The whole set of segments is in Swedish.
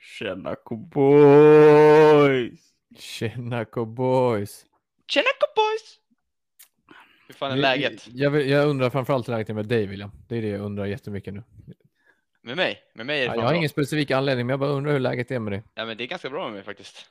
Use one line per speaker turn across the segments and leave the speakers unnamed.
Tjena cowboys!
Tjena cowboys!
Tjena cowboys! Hur fan är
Vi-
läget?
Jag, vill- jag undrar framförallt hur läget är med dig William. Det är det jag undrar jättemycket nu.
Med mig? Med mig är det
Ja,
fan
jag har
bra.
ingen specifik anledning, men jag bara undrar hur läget är med dig.
Ja, men det är ganska bra med mig faktiskt.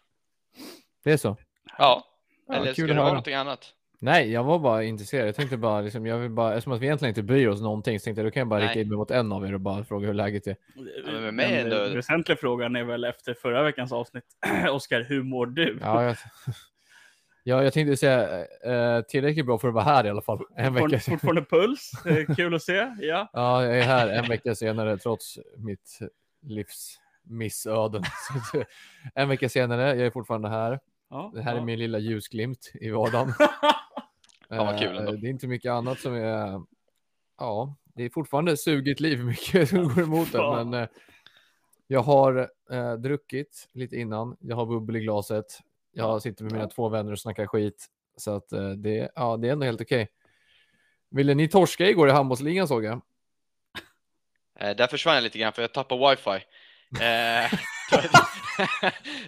Det är så?
Ja,
Ja,
eller
kul att
skulle det vara
höra.
någonting annat?
Nej, jag var bara intresserad. Jag tänkte bara, liksom, jag vill bara, eftersom att vi egentligen inte bryr oss någonting, så tänkte jag då kan jag bara
Nej.
rikta in mig mot en av er och bara fråga hur läget är.
Ja, men med mig är det
Den
ändå-
eh, väsentliga frågan är väl efter förra veckans avsnitt, Oskar, hur mår du?
Ja, jag, ja, jag tänkte säga eh, tillräckligt bra för att vara här i alla fall. En vecka
Fortfarande,
sen.
fortfarande puls, Det är kul att se. Ja.
Ja, jag är här en vecka senare trots mitt livs missöden. Så att, en vecka senare, jag är fortfarande här.
Ja,
Det här
ja.
är min lilla ljusglimt i vardagen.
Ja, vad kul
Eh,
ändå.
Det är inte mycket annat som är... Ja, det är fortfarande sugigt liv mycket som går emot det.
Fan.
Men eh, jag har eh, druckit lite innan. Jag har bubbel i glaset. Jag sitter med mina två vänner och snackar skit. Så att eh, det, ja, det är ändå helt okej. Ville ni torska igår i handbollsligan såg jag?
Eh, där försvann jag lite grann för jag tappade wifi. Eh,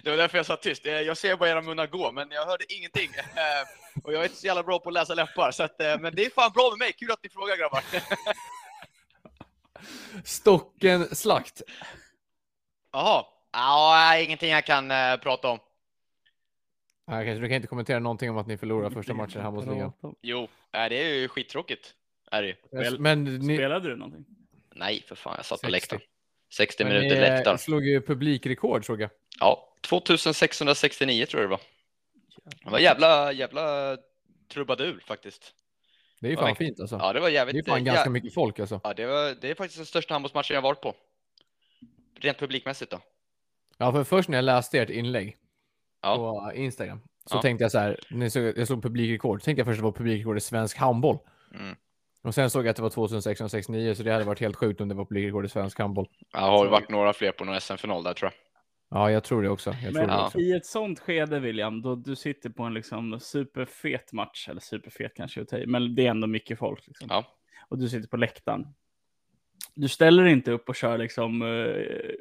det var därför jag satt tyst. Eh, jag ser bara era munnar gå, men jag hörde ingenting. Eh, och jag är inte så jävla bra på att läsa läppar, så att, eh, men det är fan bra med mig. Kul att ni frågar grabbar.
Stocken slakt.
Jaha. Ja, ingenting jag kan eh, prata om.
Ja, kanske, du kan inte kommentera någonting om att ni förlorar första matchen i handbollsligan.
Jo, eh, det är ju skittråkigt. Är det ju.
Spel-
Men ni,
Spelade du någonting?
Nej, för fan, jag satt på
60.
läktaren. 60
men
minuter
ni eh,
läktaren.
slog ju publikrekord såg jag.
Ja, 2669 tror jag det var. Det var jävla, jävla trubadur faktiskt.
Det är ju
Ja,
fan
verkligen.
fint alltså.
Ja, det var
Det är ju
jävligt.
fan
eh,
ganska
jä-
mycket folk alltså.
Ja, det, var, det är faktiskt den största handbollsmatchen jag varit på. Rent publikmässigt då.
Ja, för först när jag läste ert inlägg
Ja.
på Instagram så
Ja.
tänkte jag så här, ni såg, jag såg publikrekord, tänkte jag först att det var publikrekord i svensk handboll.
Mm.
Och sen såg jag att det var 2669, så det hade varit helt sjukt om det var publikrekord i svensk handboll.
Jag har varit några fler på någon SM-final där tror jag.
Ja, jag tror det också. Jag tror
Men
det
Ja.
också.
i ett sånt skede, William, då du sitter på en liksom superfet match, eller superfet kanske jag tar i, men det är ändå mycket folk. Liksom.
Ja.
Och du sitter på läktaren. Du ställer inte upp och kör liksom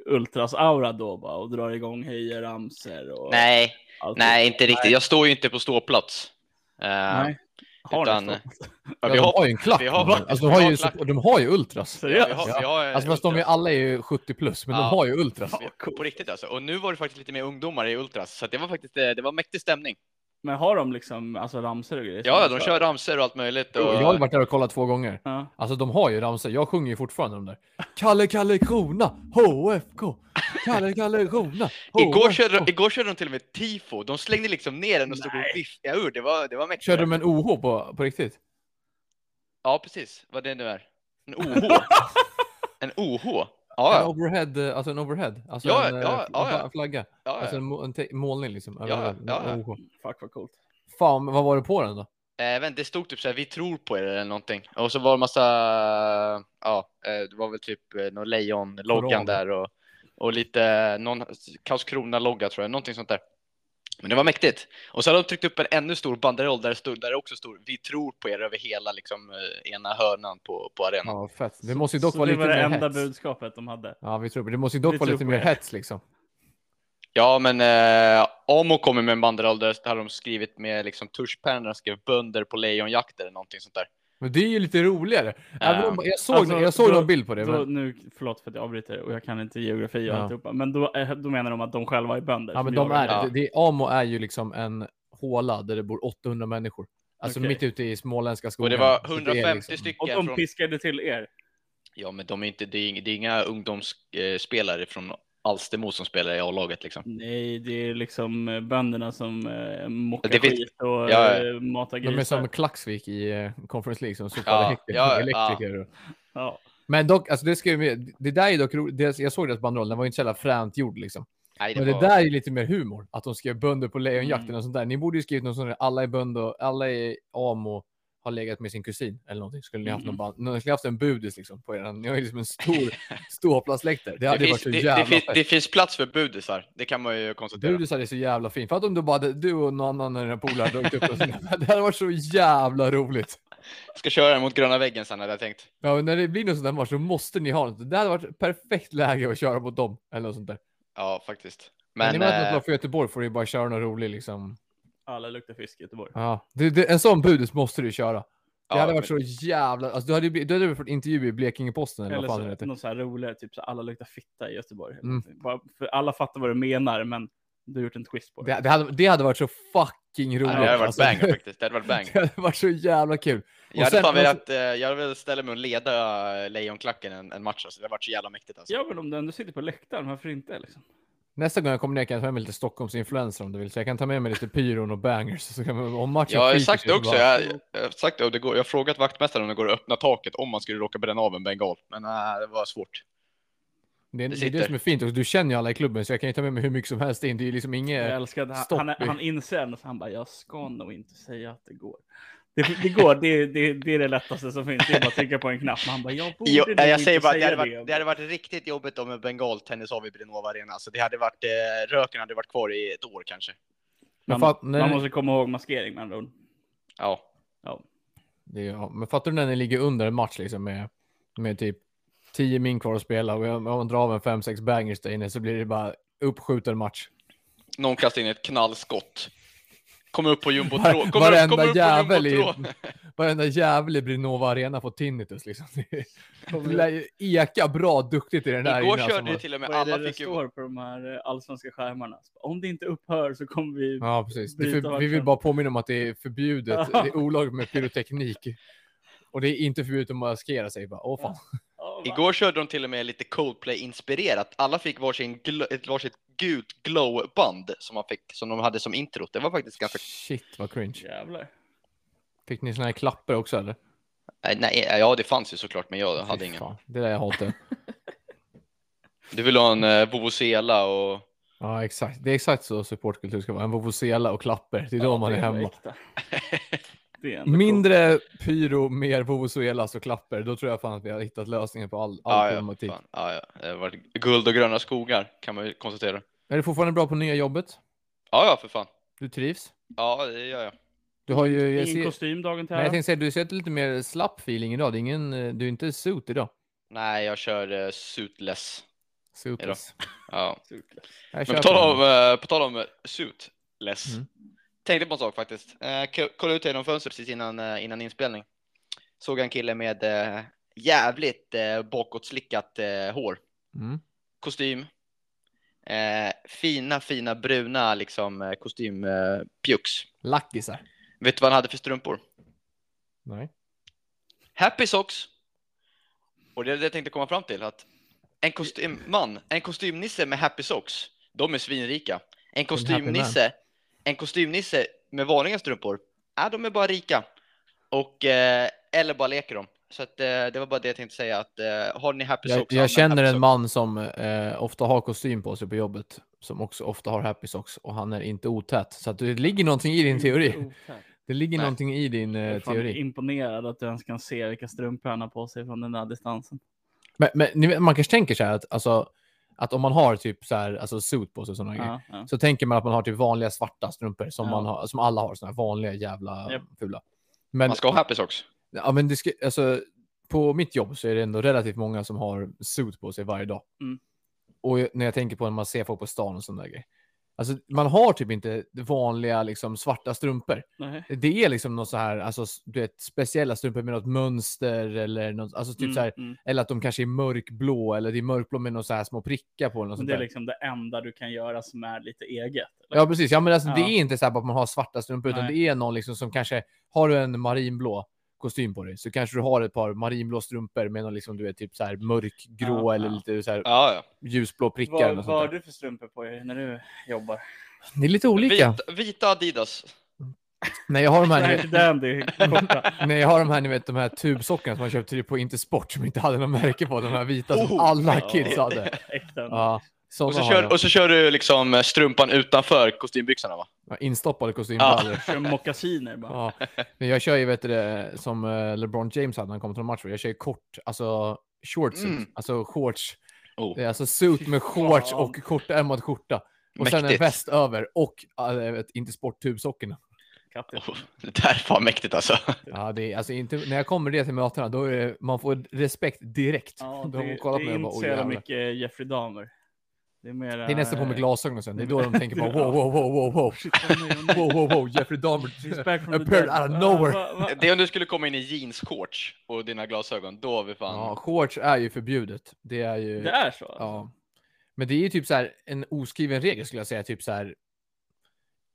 ultras-aura då bara, och drar igång hejaramsor och
Nej,
allt.
nej, inte riktigt. Jag står ju inte på ståplats. Eh,
Nej. Har
utan- eh,
ni stått?
ja,
Ja,
vi
de
har,
har ju en klack.
vi har-
man. alltså, de,
vi
har
har
ju,
klack.
de har ju ultras.
ja, vi
Seriöst?
har, vi har, eh,
Alltså, fast de är,
ultras.
alla är ju 70 plus, men
Ja.
de har ju ultras.
Ja, coolt.
På riktigt alltså. Och nu var det faktiskt lite mer ungdomar i Ultras, så att det var faktiskt eh, det var mäktig stämning.
Men har de liksom alltså ramsor och grejer?
Ja, de kör ramsor och allt möjligt. Och...
Jag har ju varit där och kollat två gånger.
Ja.
Alltså de har ju ramsor, jag sjunger ju fortfarande de där. Kalle Kalle Krona, HFK. Kalle Kalle Krona,
Igår
HFK.
körde, de, igår körde de till och med tifo. De slängde liksom ner den och stod och viftade ur. Det var, det var mäktigt.
Körde de en OH på, på riktigt?
Ja, precis. Vad det nu är. En OH. en OH. Ja,
En
ja.
overhead, eh, alltså en overhead. Alltså
Ja,
en eh,
ja,
fl-
ja, ja.
flagga.
ja,
Alltså
ja.
en, mo- en te- målning liksom.
ja,
överallt, en
ja.
OH.
Fuck vad coolt.
Fan, men vad var det på den då?
Eh, vänta, det stod typ så här, vi tror på er eller någonting. Och så var det massa, ja, eh, det var väl typ eh, någon lejonloggan
Koran.
där och, och lite, någon Karlskrona-logga tror jag, någonting sånt där. Men det var mäktigt. Och så hade de tryckt upp en ännu stor banderoll där det stod, där det också stod, vi tror på er över hela liksom eh, ena hörnan på, på arenan.
Ja, vad fett. Det måste ju dock
så
vara
det
lite
var det
mer
enda
hets.
budskapet de hade.
Ja, vi tror på det. Det måste ju
Vi
dock vara
tror
lite
på
mer
er.
hets liksom.
Ja, men eh, Amo kommer med en banderoll där hade de skrivit med liksom tuschpennorna, skrev bönder på lejonjakt eller någonting sånt där.
Men det är ju lite roligare. Även om, jag såg,
Alltså,
jag såg
då-
någon bild på det.
Då,
Men,
nu, förlåt för att jag avbryter och jag kan inte geografi och
Ja.
alltihopa. Men då, eh, då menar de att de själva är bönder.
ja, men
som
de
jagar.
är,
Ja.
det, det, Amo är ju liksom en håla där det bor 800 människor. Alltså
Okej.
mitt ute i småländska
Och
skogen.
det var
Så
150
liksom-
stycken
Och de
från...
piskade till er.
Ja, men de är inte, det är inga, det är inga ungdomsspelare från Alstermo som spelar i A-laget liksom.
Nej, det är liksom eh, bönderna som eh, mockar
Det finns-
skit och
Ja, ja.
eh, matar
De
grisar.
är som Klaxvik i eh, Conference League som sopade
Ja,
häcken
ja,
med elektriker. och-
Ja.
Men dock, alltså det, ska ju, med- det där är dock roligt. Det- Jag såg deras banderoll, den var ju inte så jävla fränt gjord liksom.
Nej, det
Men det
var...
där är lite mer humor, att de skrev bönder på lejonjakten
Mm.
och sånt där. Ni borde ju skrivit något sånt där, alla är bönder, alla är amo, har legat med sin kusin eller någonting. Skulle ni haft,
Mm.
någon band, ni skulle haft en budis liksom på er. Ni har ju liksom en stor ståplatsläktare. Det
det,
hade varit
finns,
så
det,
jävla
det, finns,
fett.
det finns plats för budisar, det kan man ju konstatera.
Budisar är så jävla fint. För att om du bara, hade- du och någon annan i den här polaren hade åkt upp och så, det hade varit så jävla roligt.
Jag ska köra den mot gröna väggen sen hade jag tänkt.
Ja, men när det blir någon sån där match så måste ni ha något. Det hade varit perfekt läge att köra mot dem. Eller något sånt där.
Ja, faktiskt.
Men,
Men,
men är något
eh,
bra för Göteborg får du ju bara köra någon rolig liksom.
Alla luktar fisk i Göteborg.
Ja, du, du, en sån budis måste du ju köra. Det
ja,
hade varit
men-
så jävla... Alltså, du hade ju blivit- du hade ju fått intervju i Blekinge-Posten eller,
Eller
vad fan det
så,
heter.
någon så här roligare, typ så här, alla luktar fitta i Göteborg.
Mm.
Bara, för alla fattar vad du menar, men du har gjort en twist på det.
Det, det, hade, det hade varit så fucking roligt.
Nej, det hade varit
alltså.
banger faktiskt. Det hade varit bang.
Det hade varit så jävla kul.
Jag hade
sen-
fan velat, eh, jag hade velat ställa mig och leda eh, Lejonklacken en, en match. Alltså. Det hade varit så jävla mäktigt. Alltså.
Ja, men om du ändå sitter på läktaren, varför inte? Liksom?
Nästa gång jag kommer ner kan jag ta med mig lite Stockholmsinfluencer om du vill. Så jag kan ta med mig lite pyron och bangers. Så kan, vi- om matchen
Jag har ju
typ
skiter
sagt
sig
det
så
också.
bara-
Jag, jag, har sagt det, och det går, jag har frågat vaktmästaren om det går att öppna taket om man skulle råka bränna av en bengal. Men nej, det var svårt.
det, är-
det
det är det
sitter.
som är fint. Och du känner ju alla i klubben så jag kan ju ta med mig hur mycket som helst in. Det är ju liksom
Jag
inget...
älskar att
stopp
han, han,
i-
är- han inser ändå, så han bara, jag ska nog inte säga att det går. Det, det går, det, det, det är det lättaste som finns. Det är bara att trycka på en knapp. Men han bara, jag borde
Jo,
nog
jag
inte
säger bara att det
säga
hade, varit, det hade varit riktigt jobbigt om en bengal tennis av i Brinova Arena. Alltså, det hade varit, eh, röken hade varit kvar i ett år kanske.
Men
Man,
fatt,
man
när,
måste komma ihåg maskering med andra ord.
Ja.
det, är- ja, men fattar du när ni ligger under en match liksom med, med typ 10 min kvar att spela och jag- om man drar av en 5-6 bangers där inne så blir det bara uppskjuten match.
Någon kastade in ett knallskott. Kom upp på jumbo
Var-
Kommer upp, kommer
varenda
upp på
jävel i-
jumbo
Varenda jävel i Brinova Arena får tinnitus liksom. Det det lär ju eka bra duktigt i den där
Igår
inne, alltså.
körde ju till och med
Vad är det
alla
det
fick ju
står på de här eh, allsvenska skärmarna? Så bara, Om det inte upphör så kommer vi...
Ja, precis. Det är
typ Bryta
för, vi vill
matchen.
bara påminna om att det är förbjudet. Det
Ja.
är olagligt med pyroteknik. Och det är inte förbjudet att maskera sig. Bara, Åh, fan.
Ja, va?
Igår körde de till och med lite Coldplay-inspirerat. Alla fick varsin gl- ett varsitt gult glow-band som, man fick, som de hade som intro. Det var faktiskt ganska...
Shit, vad cringe.
Jävlar.
Fick ni såna här klappar också eller?
Nej, nej, ja det fanns ju såklart, men jag hade
Fy
ingen.
fan, Det där jag hatar.
Du vill ha en eh, vuvuzela och...
Ja, exakt. Det är exakt så supportkultur ska vara. En vuvuzela och klapper. Det är då man är hemma.
äkta. Det är ändå
Mindre pyro, mer vuvuzelas och klapper. Då tror jag fan att vi har hittat lösningen på all, all
Ja, ja,
problematik.
fan. Ja, ja. Det har varit guld och gröna skogar kan man ju konstatera.
Är du fortfarande bra på nya jobbet?
Ja, ja, för fan.
Du trivs?
Ja, det gör jag.
Du har ju...
coolt.
Jag
Ingen
ser,
kostym dagen till
nej, jag
ära.
tänkte säga, du ser ett lite mer slapp feeling idag. Det är ingen, eh, du är inte suit idag.
Nej, jag kör eh, suitless.
Suitless.
Ja.
Super.
Jag
Men på
köper
tal,
den.
om, eh, på tal om eh, suitless.
Mm.
Tänkte på en sak faktiskt. Eh, k- kollade ut genom fönstret precis innan, eh, innan inspelning. Såg en kille med eh, jävligt eh, bakåtslickat eh, hår.
Mm.
Kostym. Eh, fina, fina bruna liksom eh, kostympjucks. Eh, pjucks.
Lackisar.
Vet du vad han hade för strumpor?
Nej.
Happy socks. Och det är det jag tänkte komma fram till. Att en kostymman, en kostymnisse med happy socks, de är svinrika. En kostymnisse, en kostymnisse med vanliga strumpor, äh, de är bara rika. Och, eh, eller bara leker de. Så att, eh, det var bara det jag tänkte säga. Att, eh, har ni happy
Jag,
socks?
jag
använd
känner
happy
en
socks.
man som eh, ofta har kostym på sig på jobbet, som också ofta har happy socks och han är inte otät. Så att det ligger någonting i din teori.
Otäckt.
Det ligger
Nej.
någonting i din
Jag
eh,
är fan
teori.
imponerad att du ens kan se vilka strumpor han har på sig från den där distansen.
Men, men ni vet, man kanske tänker så här att, alltså, att om man har typ så här, alltså suit på sig och sådana grejer,
Ja, ja.
så tänker man att man har typ vanliga svarta strumpor som,
Ja.
man har, som alla har, sådana här vanliga jävla
Japp.
fula. Men,
Man ska ha happy socks.
ja, men det ska, alltså, på mitt jobb så är det ändå relativt många som har suit på sig varje dag.
Mm.
Och jag- när jag tänker på när man ser folk på stan och sådana grejer. Alltså, man har typ inte vanliga liksom, svarta strumpor.
Nej.
Det är liksom något så här, alltså, du vet, speciella strumpor med något mönster eller något, alltså typ
Mm,
så här,
mm.
eller att de kanske är mörkblå eller det är mörkblå med några så här små prickar på. Eller
Men
något sånt
det är
där.
liksom det enda du kan göra som är lite eget. eller?
Ja, precis. Ja, men alltså, Det
Ja.
är inte så här bara att man har svarta strumpor, utan
Nej.
det är någon liksom som kanske har du en marinblå kostym på dig så kanske du har ett par marinblå strumpor med någon liksom, du vet, typ så här mörkgrå
Ja,
eller
ja.
lite så här
Ja, ja.
ljusblå prickar. eller
Vad, vad
något sånt
har
där.
du för strumpor på dig när du jobbar?
Det är lite olika.
Vita, vita Adidas.
Nej, jag har de här, ni
Nej,
vet,
dandy. Korta.
nej, jag har de här, ni vet, de här tubsockorna som man köpte på Intersport som inte hade något märke på. De här vita som
Oh,
alla
ja.
kids hade.
Äkta.
Ja,
Och
såna
så,
har
kör,
jag.
och så kör du liksom eh, strumpan utanför kostymbyxorna va?
Ja, Instoppade kostymbrallor.
Kör mockasiner bara.
Ja, men jag kör ju vet du, det, som eh, LeBron James hade när han kom till en match. Jag kör ju kort, alltså short suit,
Mm.
alltså shorts.
Oh.
Det är alltså suit med shorts
fan.
och kortärmad skjorta. Och sen en
Mäktigt.
väst över och äh, vet, inte sporttubsockorna.
Kattis.
Oh, det där är fan mäktigt alltså.
Ja, det är, alltså inte, när jag kommer det till mötena, då är det, man får respekt direkt.
Ja,
De
det,
har
det
kollat på mig
är
och bara,
inte
"Åh,
så jävla
jävlar."
mycket Jeffrey Dahmer. Det är, mera,
Det är nästan på med
eh,
glasögon och sen. Det är då de tänker på wow, wow, wow, wow, wow.
shit, vad är det?
Wow, wow, wow, Jeffrey Dahmer.
She's back from the
Appeared
dead.
out of
Va-
nowhere.
va- va-
Det är om du skulle komma in i jeansshorts och dina glasögon, då vi fan...
Ja, shorts är ju förbjudet. Det är ju...
Det är så? alltså?
Ja. Men det är ju typ så här en oskriven regel skulle jag säga, typ så här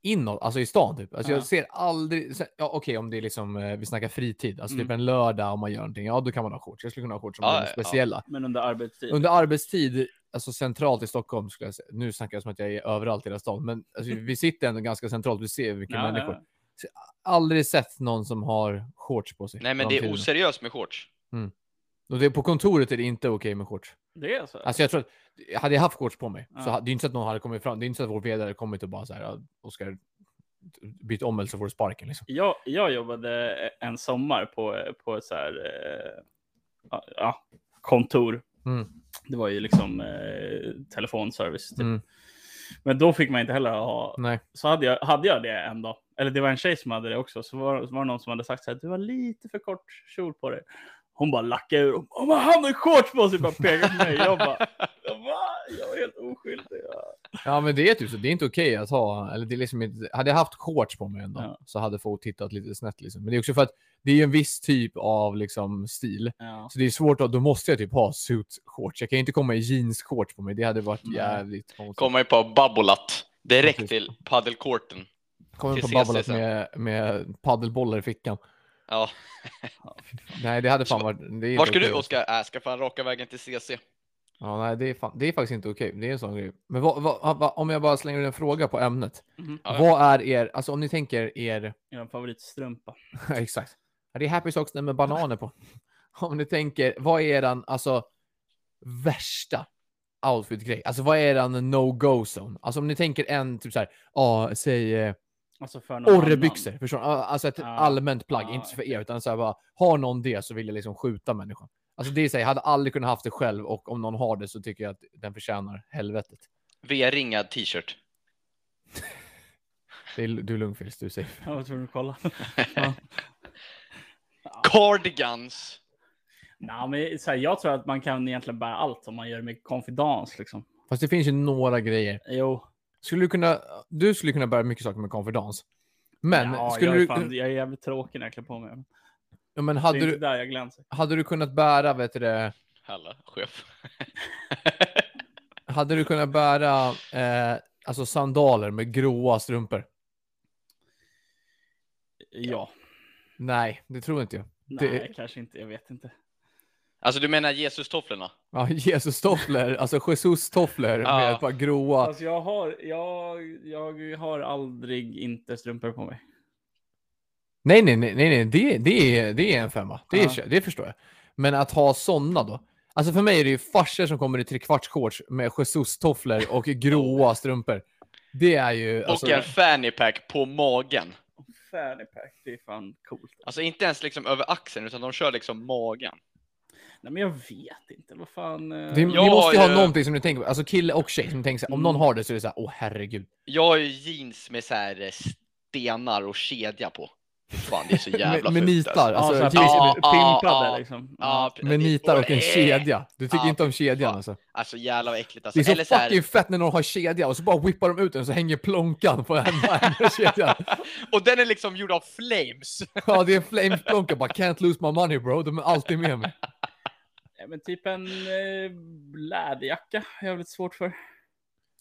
inåt, alltså i stan typ. Alltså
Ja.
jag ser aldrig, så här- ja okej om det är liksom, eh, vi snackar fritid, alltså typ
Mm.
en lördag om man gör någonting, ja då kan man ha shorts. Jag skulle kunna ha shorts som
Ja,
är
ja,
speciella.
Men under arbetstid?
Under arbetstid, alltså centralt i Stockholm skulle jag säga, nu snackar jag som att jag är överallt i hela stan, men alltså, vi sitter ändå ganska centralt, vi ser vilka
Ja, ja,
människor.
ja.
Aldrig sett någon som har shorts på sig.
Nej, men
på
det
de
är
tiderna.
oseriöst med shorts.
Och det, på kontoret är det inte okej med shorts.
Det är så?
Alltså jag tror att, hade jag haft shorts på mig, så
Ja.
hade det är inte så att någon hade kommit fram, det är inte så att vår vd hade kommit och bara så här, "Ja, Oskar, byt om eller så får du sparken liksom.
jag, jag jobbade en sommar på, på ett så här, eh, ja, ja, kontor.
Mm.
Det var ju liksom eh, telefonservice. Typ.
Mm.
Men då fick man inte heller ha.
Nej.
Så hade jag, hade jag det en dag. Eller det var en tjej som hade det också. Så var, så var det någon som hade sagt så här. Du har lite för kort kjol på dig. Hon bara lackade ur. och bara, "Men han har ju shorts på sig. Bara pekade på mig. Jag bara. Jag, bara, jag var helt oskyldig. Ja.
Ja, men det är typ så, det är inte okej att ha, eller det är liksom inte, hade jag haft shorts på mig en dag
Ja.
så hade folk tittat lite snett liksom. Men det är också för att det är ju en viss typ av liksom stil.
Ja.
Så det är svårt att, då måste jag typ ha suit shorts. Jag kan ju inte komma i jeans shorts på mig. Det hade varit
Nej.
jävligt konstigt.
Komma ett par babolat direkt
Precis.
till padelkorten.
Kommer på
till CC
babblat
sen.
med, med paddelbollar i fickan.
Ja.
Nej, det hade fan varit. Det är
Var
inte
ska du
okej. alltså.
Oskar? Äh, ska fan raka vägen till CC.
Ja, nej, det är, fan, det är faktiskt inte okej. Det är en sån grej. Men vad, vad, vad, om jag bara slänger en fråga på ämnet.
Mhm.
Ja.
Vad är er, alltså om ni tänker er,
Eran favoritstrumpa.
exakt, Ja, det är happy socks med bananer på. Om ni tänker, vad är eran, alltså värsta outfit-grej? Alltså vad är eran no-go-zone? Alltså om ni tänker en, typ så här, ja, säg eh,
Alltså för någon annan.
orrebyxor, förstår ni? Ja, Alltså ett
Ja.
allmänt plagg,
Ja,
inte för er, utan så här bara, har någon det så vill jag liksom skjuta människan. Alltså det är så här, jag hade aldrig kunnat haft det själv och om någon har det så tycker jag att den förtjänar helvetet.
V-ringad t-shirt.
Det är, du är lugn Fils, du säger.
Jag var tvungen att kolla.
Cardigans.
Nej, men så här, jag tror att man kan egentligen bära allt om man gör det med konfidens. Liksom.
Fast det finns ju några grejer.
Jo,
Skulle du kunna, du skulle kunna bära mycket saker med konfidens. Men
ja,
skulle
jag, är
du,
fan, jag är jävligt tråkig när jag klär på mig.
ja, men
Hade
hade
det är
du,
inte där jag glänser.
hade du kunnat bära, vet du det,
Hallå, chef.
hade du kunnat bära, eh, alltså sandaler med gråa strumpor?
Ja,
Nej, det tror inte jag.
nej, kanske inte. Jag vet inte.
Alltså du menar Jesus-tofflorna?
Ja, Jesus-tofflor, alltså Jesus-tofflor med
Ja.
ett par gråa.
Alltså, jag, har, jag, jag har aldrig inte strumpor på mig.
Nej, nej, nej, nej, nej. Det, det, är, det är en femma. Det, är,
Ja.
det förstår jag. Men att ha sådana då? Alltså för mig är det ju farsor som kommer i trekvartsshorts med Jesus-tofflor och gråa strumpor. Det är ju... Alltså,
Och en fanny pack på magen.
Fanny pack, det är fan coolt.
Alltså inte ens liksom över axeln, utan de kör liksom magen.
Nej, men jag vet inte. Vad fan. eh,
det,
Jag
ni måste ju
har
ha
ju-
någonting som ni tänker på. Alltså kille och tjej som tänker så här, om någon har det så är det så här, åh herregud.
Jag har ju jeans med så här eh, stenar och kedja på. Fy Fan, det är så jävla
Med, med nitar,
ja, så
alltså.
här,
jeans
ja,
pim- pimpade
ja,
liksom.
Ja, pre-
med
det-
nitar och en
Åh,
kedja. Du tycker
Ja,
inte om kedjan
fan.
alltså.
Alltså jävlar vad äckligt alltså.
Det är så
Eller så här-
fucking fett när någon har kedja och så bara whippar de ut den och så hänger plånkan på den här kedjan.
och den är liksom gjord av flames.
Ja, det är en flameplånka bara can't lose my money bro. De är alltid med mig.
Nej, men typ en eh, läderjacka har jag lite svårt för.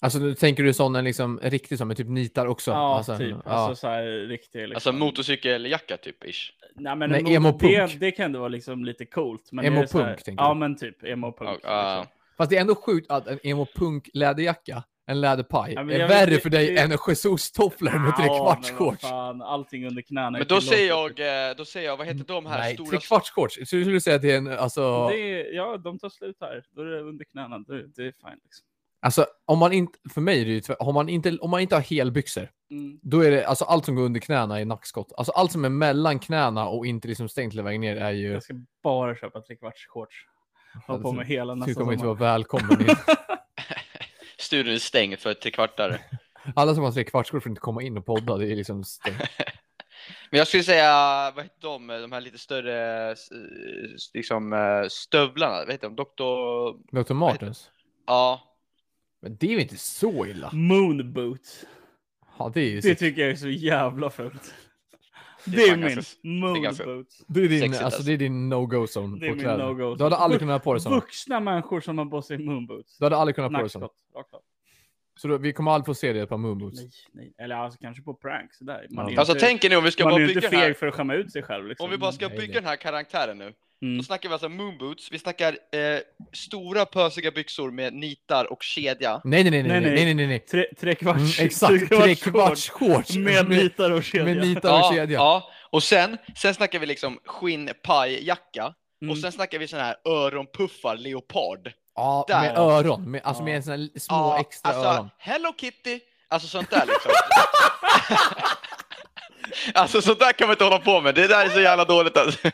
Alltså nu tänker du sån en liksom riktig som med typ nitar också?
Ja,
alltså,
typ.
Ja.
Alltså så här riktig. Liksom.
Alltså motorcykeljacka typ ish.
Nej, men
Nej,
emot-
emo-punk.
Det, det kan ändå vara liksom lite coolt. Men
Emo-punk,
är det så här-
tänker
Ja,
du?
men typ emo-punk.
Ja,
liksom.
Fast det är ändå sjukt att en emo punk läderjacka, en läderpaj,
Ja, men
är
jag
värre
vet-
för dig
det-
än en Jesus-tofflor med
men vad
trekvartsshorts.
fan, Allting under knäna. är
Men då säger
tillåtet.
jag, eh, då säger jag, vad heter de här
Nej,
stora?
trekvartsshorts. Så skulle du säga att det är en, alltså,
Det är, ja, de tar slut här. Då är det under knäna. Då, är- det är fine. Liksom.
alltså om man inte, för mig är det ju tvär- om man inte, om man inte har helbyxor,
Mm.
då är det, alltså allt som går under knäna är nackskott. Alltså allt som är mellan knäna och inte liksom stängt hela vägen ner är ju,
Jag ska bara köpa trekvartsshorts. Ha på mig hela
du
nästa
kommer inte vara
sommar.
välkommen. in.
Studion är stängd för trekvartare.
Alla som har trekvartsshorts får inte komma in och podda, det är liksom stängt.
Men jag skulle säga, vad heter de, eh, de här lite större eh, liksom eh, stövlarna, vad heter de? Doktor...
Dr. Martens.
Ja,
Men det är ju inte så illa.
Moonboots.
Ja, det är ju
Det
sitt-
tycker jag är typ så jävla fult.
Det
Det
är
är
fan ganska-
min
ganska-
moonboots.
det är din,
sexigt
alltså,
alltså.
det är din no-go-zone
Det är
på
min
kläder.
no-go-zone.
Du hade aldrig
Vux-
kunnat ha på dig sådana.
Vuxna människor som har på sig moonboots.
Du hade aldrig kunnat ha på dig sådana.
Nackskott. rakt av.
Så då, vi kommer aldrig få se dig i ett par moonboots.
Nej, nej. Eller alltså kanske på pranks. Där. Man är
Ja.
ju
Alltså
inte-
tänk er nu om vi ska
man
bara
är ju inte
bygga den här,
feg för att skämma ut sig själv. Liksom.
om vi bara ska
Nej, nej.
bygga den här karaktären nu.
Mm.
Då snackar vi alltså moonboots, vi snackar eh, stora pösiga byxor med nitar och kedja.
Nej, nej, nej, nej,
Nej,
nej, nej, nej, nej, nej.
Tre, tre
Mm,
kvarts.
exakt,
trekvarts
trekvarts shorts.
shorts Med nitar och kedja.
med nitar och
Ja,
kedja.
ja, och sen, sen snackar vi liksom skinnpajjacka
Mm.
och sen snackar vi sån här öronpuffar leopard.
Ja,
Där.
med öron. Med, alltså
Ja.
med en sån här l- små
Ja,
extra
alltså,
öron.
Hello Kitty, alltså sånt där liksom. alltså sånt där kan man inte hålla på med, det där är så jävla dåligt alltså.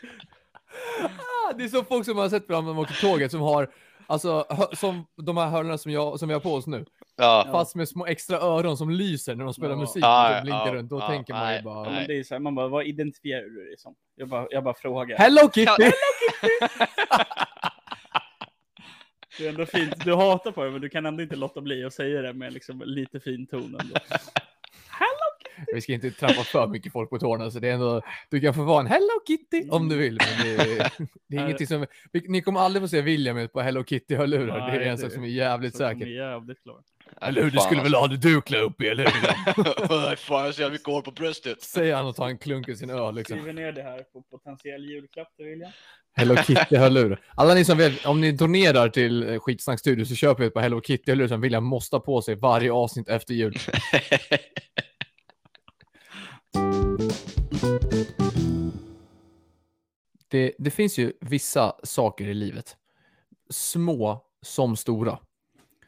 Ah, det är så folk som har sett fram när de åker tåget som har, alltså hö- som de här hörlurarna som, jag, som vi har på oss nu.
Ja.
Ja.
Fast med små extra öron som lyser när de spelar
Ja.
musik.
Ja,
och
ja,
så blinkar
ja,
runt. Då
ja,
tänker man
nej,
ju bara...
Ja, men det är så här, man bara, vad identifierar du dig som? Jag bara, jag bara frågar.
Hello Kitty!
Det är ändå fint. Du hatar på det, men du kan ändå inte låta bli att säga det med liksom lite fin ton ändå. Hello!
Vi ska inte trampa för mycket folk på tårna så det är ändå, du kan få vara en Hello Kitty om du vill. Men det, är- det är
Nej.
ingenting som, vi- ni kommer aldrig få se William med ett par Hello Kitty-hörlurar. Det är
Nej,
en
det-
sak som är jävligt
Så
säker.
kommer jävligt klar.
Eller hur, du skulle
alltså.
väl ha det du klä upp i, eller hur?
ha... alltså. Fan, jag har så jävla mycket hår på bröstet.
Säger han och tar en klunk ur sin öl liksom.
Skriver ner det här på potentiell julklapp till William.
Hello Kitty-hörlurar. Alla ni som vet, om ni turnerar till eh, Skitsnack Studio så köper vi ett par Hello Kitty-hörlurar som William måste ha på sig varje avsnitt efter jul. Det, det finns ju vissa saker i livet, små som stora,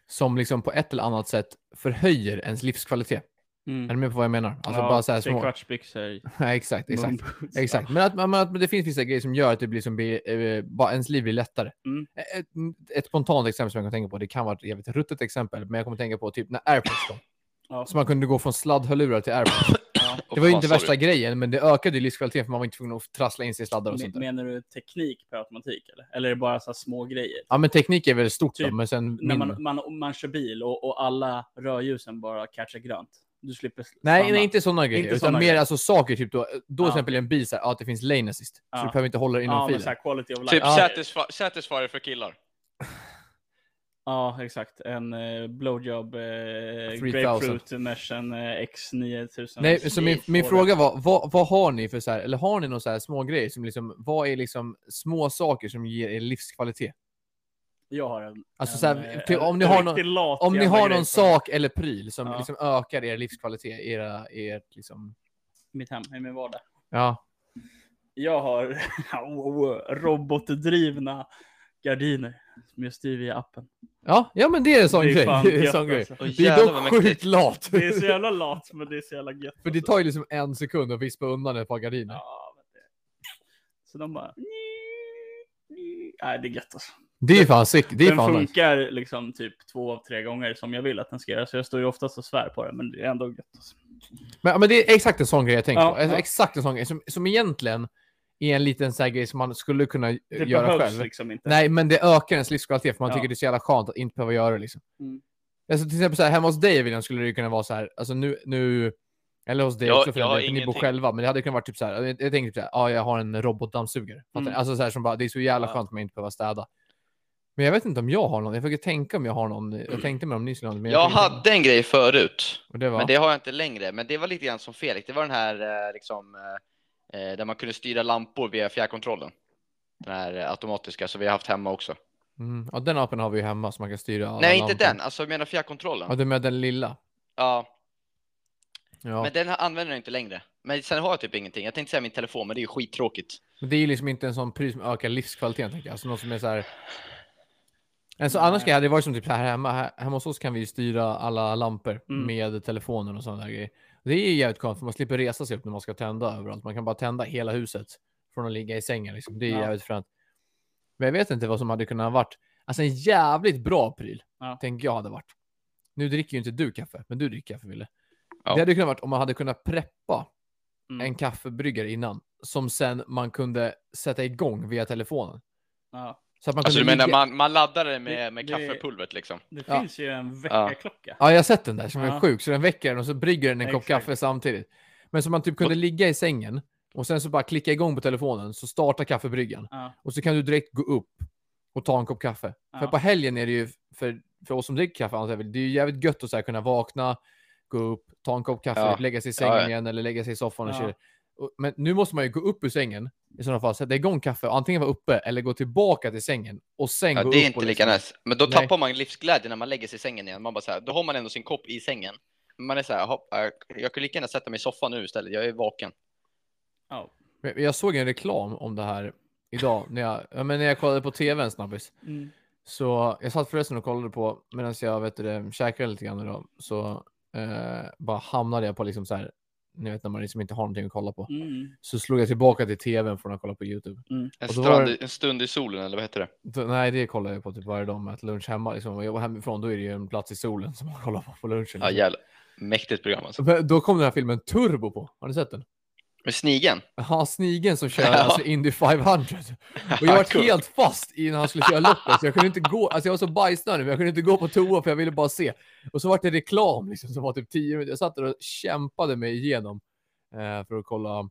som liksom på ett eller annat sätt förhöjer ens livskvalitet. Är ni med på vad jag menar? Alltså bara så här små.
Trekvartsbyxor.
Nej, exakt, exakt.
moonboots.
Exakt, men att, men att men det finns vissa grejer som gör att det blir som blir, eh, bara ens liv blir lättare.
Mm.
Ett, ett spontant exempel som jag kan tänka på, det kan vara ett jävligt ruttet exempel, men jag kommer tänka på typ när airpods kom.
Ja.
Så man kunde gå från sladdhörlurar till airpods.
Ja.
Det var ju inte värsta grejen, men det ökade ju livskvaliteten för man var inte tvungen att trassla in sig i sladdar och sånt där.
Menar du teknik per automatik eller? Eller är det bara så här små grejer?
Ja, men teknik är väl stort
Typ,
då, men sen
När
min...
man, man, om man kör bil och, och alla rörljusen bara catchar grönt. Du slipper s-
Nej,
stanna.
nej, inte sådana grejer.
Inte
utan
såna
mer
grejer.
alltså saker, typ då, då
Ja.
till exempel i en bil, så här, ja, att det finns lane assist. Så
Ja.
du behöver inte hålla dig inom
Ja, men
filen.
så här quality of life.
Typ
Ja.
satisfi- satisfier för killar.
Ja, exakt. En eh, blowjob eh,
3000.
grapefruit meshen eh, X9000.
Nej, så min,
Får
min
det.
fråga var, vad, vad har ni för så här, eller har ni några så här små grejer som liksom, vad är liksom små saker som ger er livskvalitet?
Jag har en.
Alltså
en,
så här,
eh,
typ,
en
om ni har någon-
riktigt lat
Om ni
jävla
har
grej på
någon sak eller pryl som
Ja.
liksom ökar er livskvalitet, era, ert liksom,
Mitt hem, i min vardag.
ja.
Jag har wow, robotdrivna gardiner. Som jag styr via appen.
Ja, ja men det är en sån
Det är
grej.
fan
Det är, en
gött,
sån grej.
alltså.
Åh,
Det är
jävlar vad
dock sjukt
mäktigt.
lat.
Det är så jävla lat, men det är så jävla gött. alltså.
För det tar ju liksom en sekund att vispa undan ett par gardiner.
Ja, men det... Så de bara... Nej, det är gött alltså.
Det är fan sick. Det är
Den
fan nice.
funkar liksom typ två av tre gånger som jag vill att den ska göra. Så jag står ju oftast och svär på det, men det är ändå gött. Alltså.
Men, men det är exakt en sån grej jag tänker
Ja,
på. Alltså,
ja.
Exakt en sån grej som, som egentligen är en liten så här grej som man skulle kunna eh,
Det
göra
behövs
själv.
liksom inte.
Nej, men det ökar ens livskvalitet för man
Ja.
tycker det är så jävla skönt att inte behöva göra det. Liksom.
Mm.
Alltså, till exempel så här, hemma hos dig William skulle det ju kunna vara så här, alltså nu, nu eller hos dig
Jag-
också för
jag
den
har
delen, för ni bor
ingenting.
själva, men det hade kunnat vara typ så här, jag, jag tänkte typ så här, ja, jag har en robotdammsugare. Fattar ni?
Mm.
Alltså så här som bara, det är så jävla
Ja.
skönt att man inte behöver städa. Men jag vet inte om jag har någon, jag försöker tänka om jag har någon, jag tänkte med om ni skulle ha någon. men
Mm. Jag
tänkte-
hade en grej förut.
Och det var,
Men det har jag inte längre. Men det var lite grann som Felix. Det var den här eh, liksom, eh, eh, där man kunde styra lampor via fjärrkontrollen. Den här eh, automatiska som vi har haft hemma också.
mm, ja, den appen har vi ju hemma så man kan styra alla
Nej,
lampor.
inte den. Alltså jag menar fjärrkontrollen.
Ja,
Ja,
du menar den lilla. Ja.
Men den här använder jag inte längre. Men sen har jag typ ingenting. Jag tänkte säga min telefon, men det är ju skittråkigt.
Men det är ju liksom inte en sån pryl som ökar livskvaliteten, tänker jag. Alltså något som är så här... En så
Nej.
annars grej hade det varit som typ så här hemma, här, hemma hos oss kan vi ju styra alla lampor
Mm.
med telefonen och sådana där grejer. Det är ju jävligt skönt för man slipper resa sig upp när man ska tända överallt. Man kan bara tända hela huset från att ligga i sängen. Liksom. Det är
Ja.
jävligt fränt. Men jag vet inte vad som hade kunnat ha varit. Alltså en jävligt bra pryl,
Ja.
tänker jag hade varit. Nu dricker ju inte du kaffe, men du dricker kaffe, Wille.
Ja.
Det hade kunnat varit om man hade kunnat preppa
Mm.
en kaffebryggare innan som sen man kunde sätta igång via telefonen.
Ja.
Så att man
Alltså du
kunde
menar
ligga-
man, man laddar det med, med
Det- det-
kaffepulvret liksom?
Det
Ja.
finns ju en väckarklocka.
Ja, jag har sett den där som är
Ja.
sjuk. Så den väcker den och så brygger den en kopp
Exakt.
kaffe samtidigt. Men så man typ kunde ligga i sängen och sen så bara klicka igång på telefonen så startar kaffebryggan.
Ja.
Och så kan du direkt gå upp och ta en kopp kaffe. För
Ja.
på helgen är det ju, för, för oss som dricker kaffe, antar jag väl, det är ju jävligt gött att så här kunna vakna, gå upp, ta en kopp kaffe,
Ja.
lägga sig i sängen
Ja, ja.
igen eller lägga sig i soffan och
Ja.
köra. Och- Men nu måste man ju gå upp ur sängen i sådana fall, sätta igång kaffe, och antingen vara uppe eller gå tillbaka till sängen och sen
Ja,
gå
det är
upp
inte
och
lika
liksom-
nice. Men då
Nej.
tappar man livsglädjen när man lägger sig i sängen igen. Man bara så här, då har man ändå sin kopp i sängen. Men man är så här, hopp, jag kunde lika gärna sätta mig i soffan nu istället. Jag är vaken.
Ja.
Men Jag såg en reklam om det här idag när jag, ja, men när jag kollade på tv en snabbis.
Mm.
Så jag satt förresten och kollade på medan jag vet du, det, käkade lite grann idag. Så eh, bara hamnade jag på liksom så här, ni vet när man liksom inte har någonting att kolla på.
Mm.
Så slog jag tillbaka till tvn från att kolla på YouTube.
En,
Och då var
strand,
det-
en stund i solen eller vad heter det?
Då, nej, det kollar jag på typ varje dag med att lunch hemma. Liksom, jag jobbar hemifrån, då är det ju en plats i solen som man kollar på på lunchen.
Ja,
Liksom.
jävla mäktigt program alltså.
Men Då kom den här filmen Turbo på. Har ni sett den?
Med snigeln? Ja,
Ja, snigeln som kör
Ja.
alltså Indy 500. Och jag var
Kul.
helt fast i när han skulle köra loppet. Så jag kunde inte gå, alltså jag var så bajsnödig, men jag kunde inte gå på toa för jag ville bara se. Och så var det reklam liksom som var typ 10 minuter. Jag satt där och kämpade mig igenom eh, för att kolla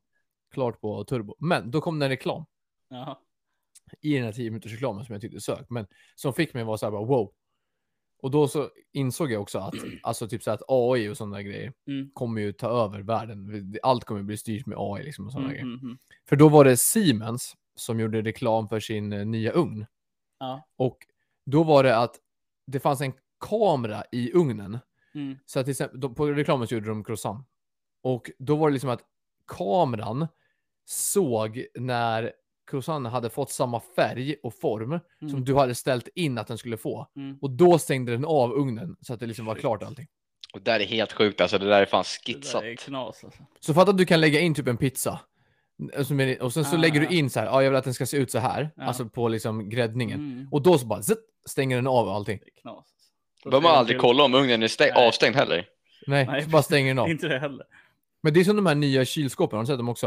klart på Turbo. Men då kom det en reklam
Ja.
i den här 10 minuters reklamen som jag tyckte sök, men som fick mig att vara så här bara wow. Och då så insåg jag också att alltså typ så här att AI och sådana grejer
Mm.
kommer ju ta över världen. Allt kommer bli styrt med AI liksom och sådana
Mm,
grejer.
mm, mm.
För då var det Siemens som gjorde reklam för sin eh, nya ugn.
Ja.
Och då var det att det fanns en kamera i ugnen.
Mm.
Så att till exempel, då- på reklamen så gjorde de croissant. Och då var det liksom att kameran såg när croissanten hade fått samma färg och form som
Mm.
du hade ställt in att den skulle få.
Mm.
Och då stängde den av ugnen så att det liksom var klart allting.
Och det där är helt sjukt alltså. Det där är fan
Det
skitsat.
där är knas alltså.
Så fatta att du kan lägga in typ en pizza. Som är- Och sen så
Ah.
lägger du in så här, ja jag vill att den ska se ut så här.
Ja.
Alltså på liksom gräddningen.
Mm.
Och då så bara zitt, stänger den av allting.
Det är knas. alltså. Då
Behöver man
ser
aldrig
till-
kolla om ugnen är stäng-
Nej.
avstängd heller.
Nej,
Nej,
så bara stänger den av.
Inte det heller.
Men det är som de här nya kylskåpen, har du sett dem också?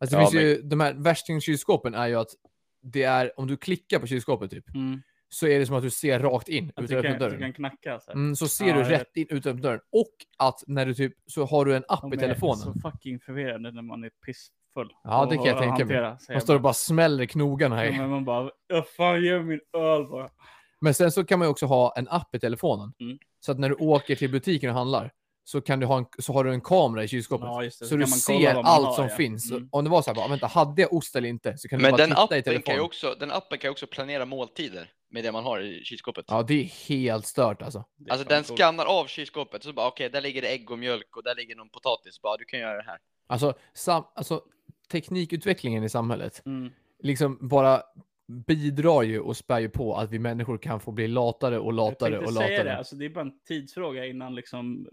Alltså det
Ja,
finns ju, de här värstingkylskåpen är ju att det är, om du klickar på kylskåpet typ,
Mm.
så är det som att du ser rakt in
Att du,
utan att öppna
kan, du
dörren.
kan knacka så här.
Mm, så ser
Ja,
du
jag vet.
rätt in utan att öppna dörren. Och att när du typ, så har du en app i
De är
telefonen.
så fucking förvirrande när man är pissfull.
Ja, det kan jag tänka mig.
mig.
Man står och bara smäller knogarna
Ja,
i.
men man bara, jag fan ge mig min öl bara.
Men sen så kan man ju också ha en app i telefonen.
Mm.
Så att när du åker till butiken och handlar så, kan du ha en, så har du en kamera i kylskåpet.
Ja, just det.
Så,
kan
du
man kolla
ser
vad man
allt
har,
som
ja.
finns.
Mm.
Om det var så här, bara, vänta, hade jag ost eller inte? Så kan du
Men
bara
den
titta i
appen, kan
telefonen.
ju också, den appen kan ju också planera måltider med det man har i kylskåpet.
Ja, det är helt stört alltså.
Det är
Alltså
fan
den
coolt.
skannar av kylskåpet så bara okej, där ligger det ägg och mjölk och där ligger någon potatis. Bara du kan göra det här.
Alltså, sam, alltså teknikutvecklingen i samhället
Mm.
liksom bara bidrar ju och spär ju på att vi människor kan få bli latare och
Jag
latare
tänkte
och
säga det,
latare.
alltså, det är bara en tidsfråga innan liksom,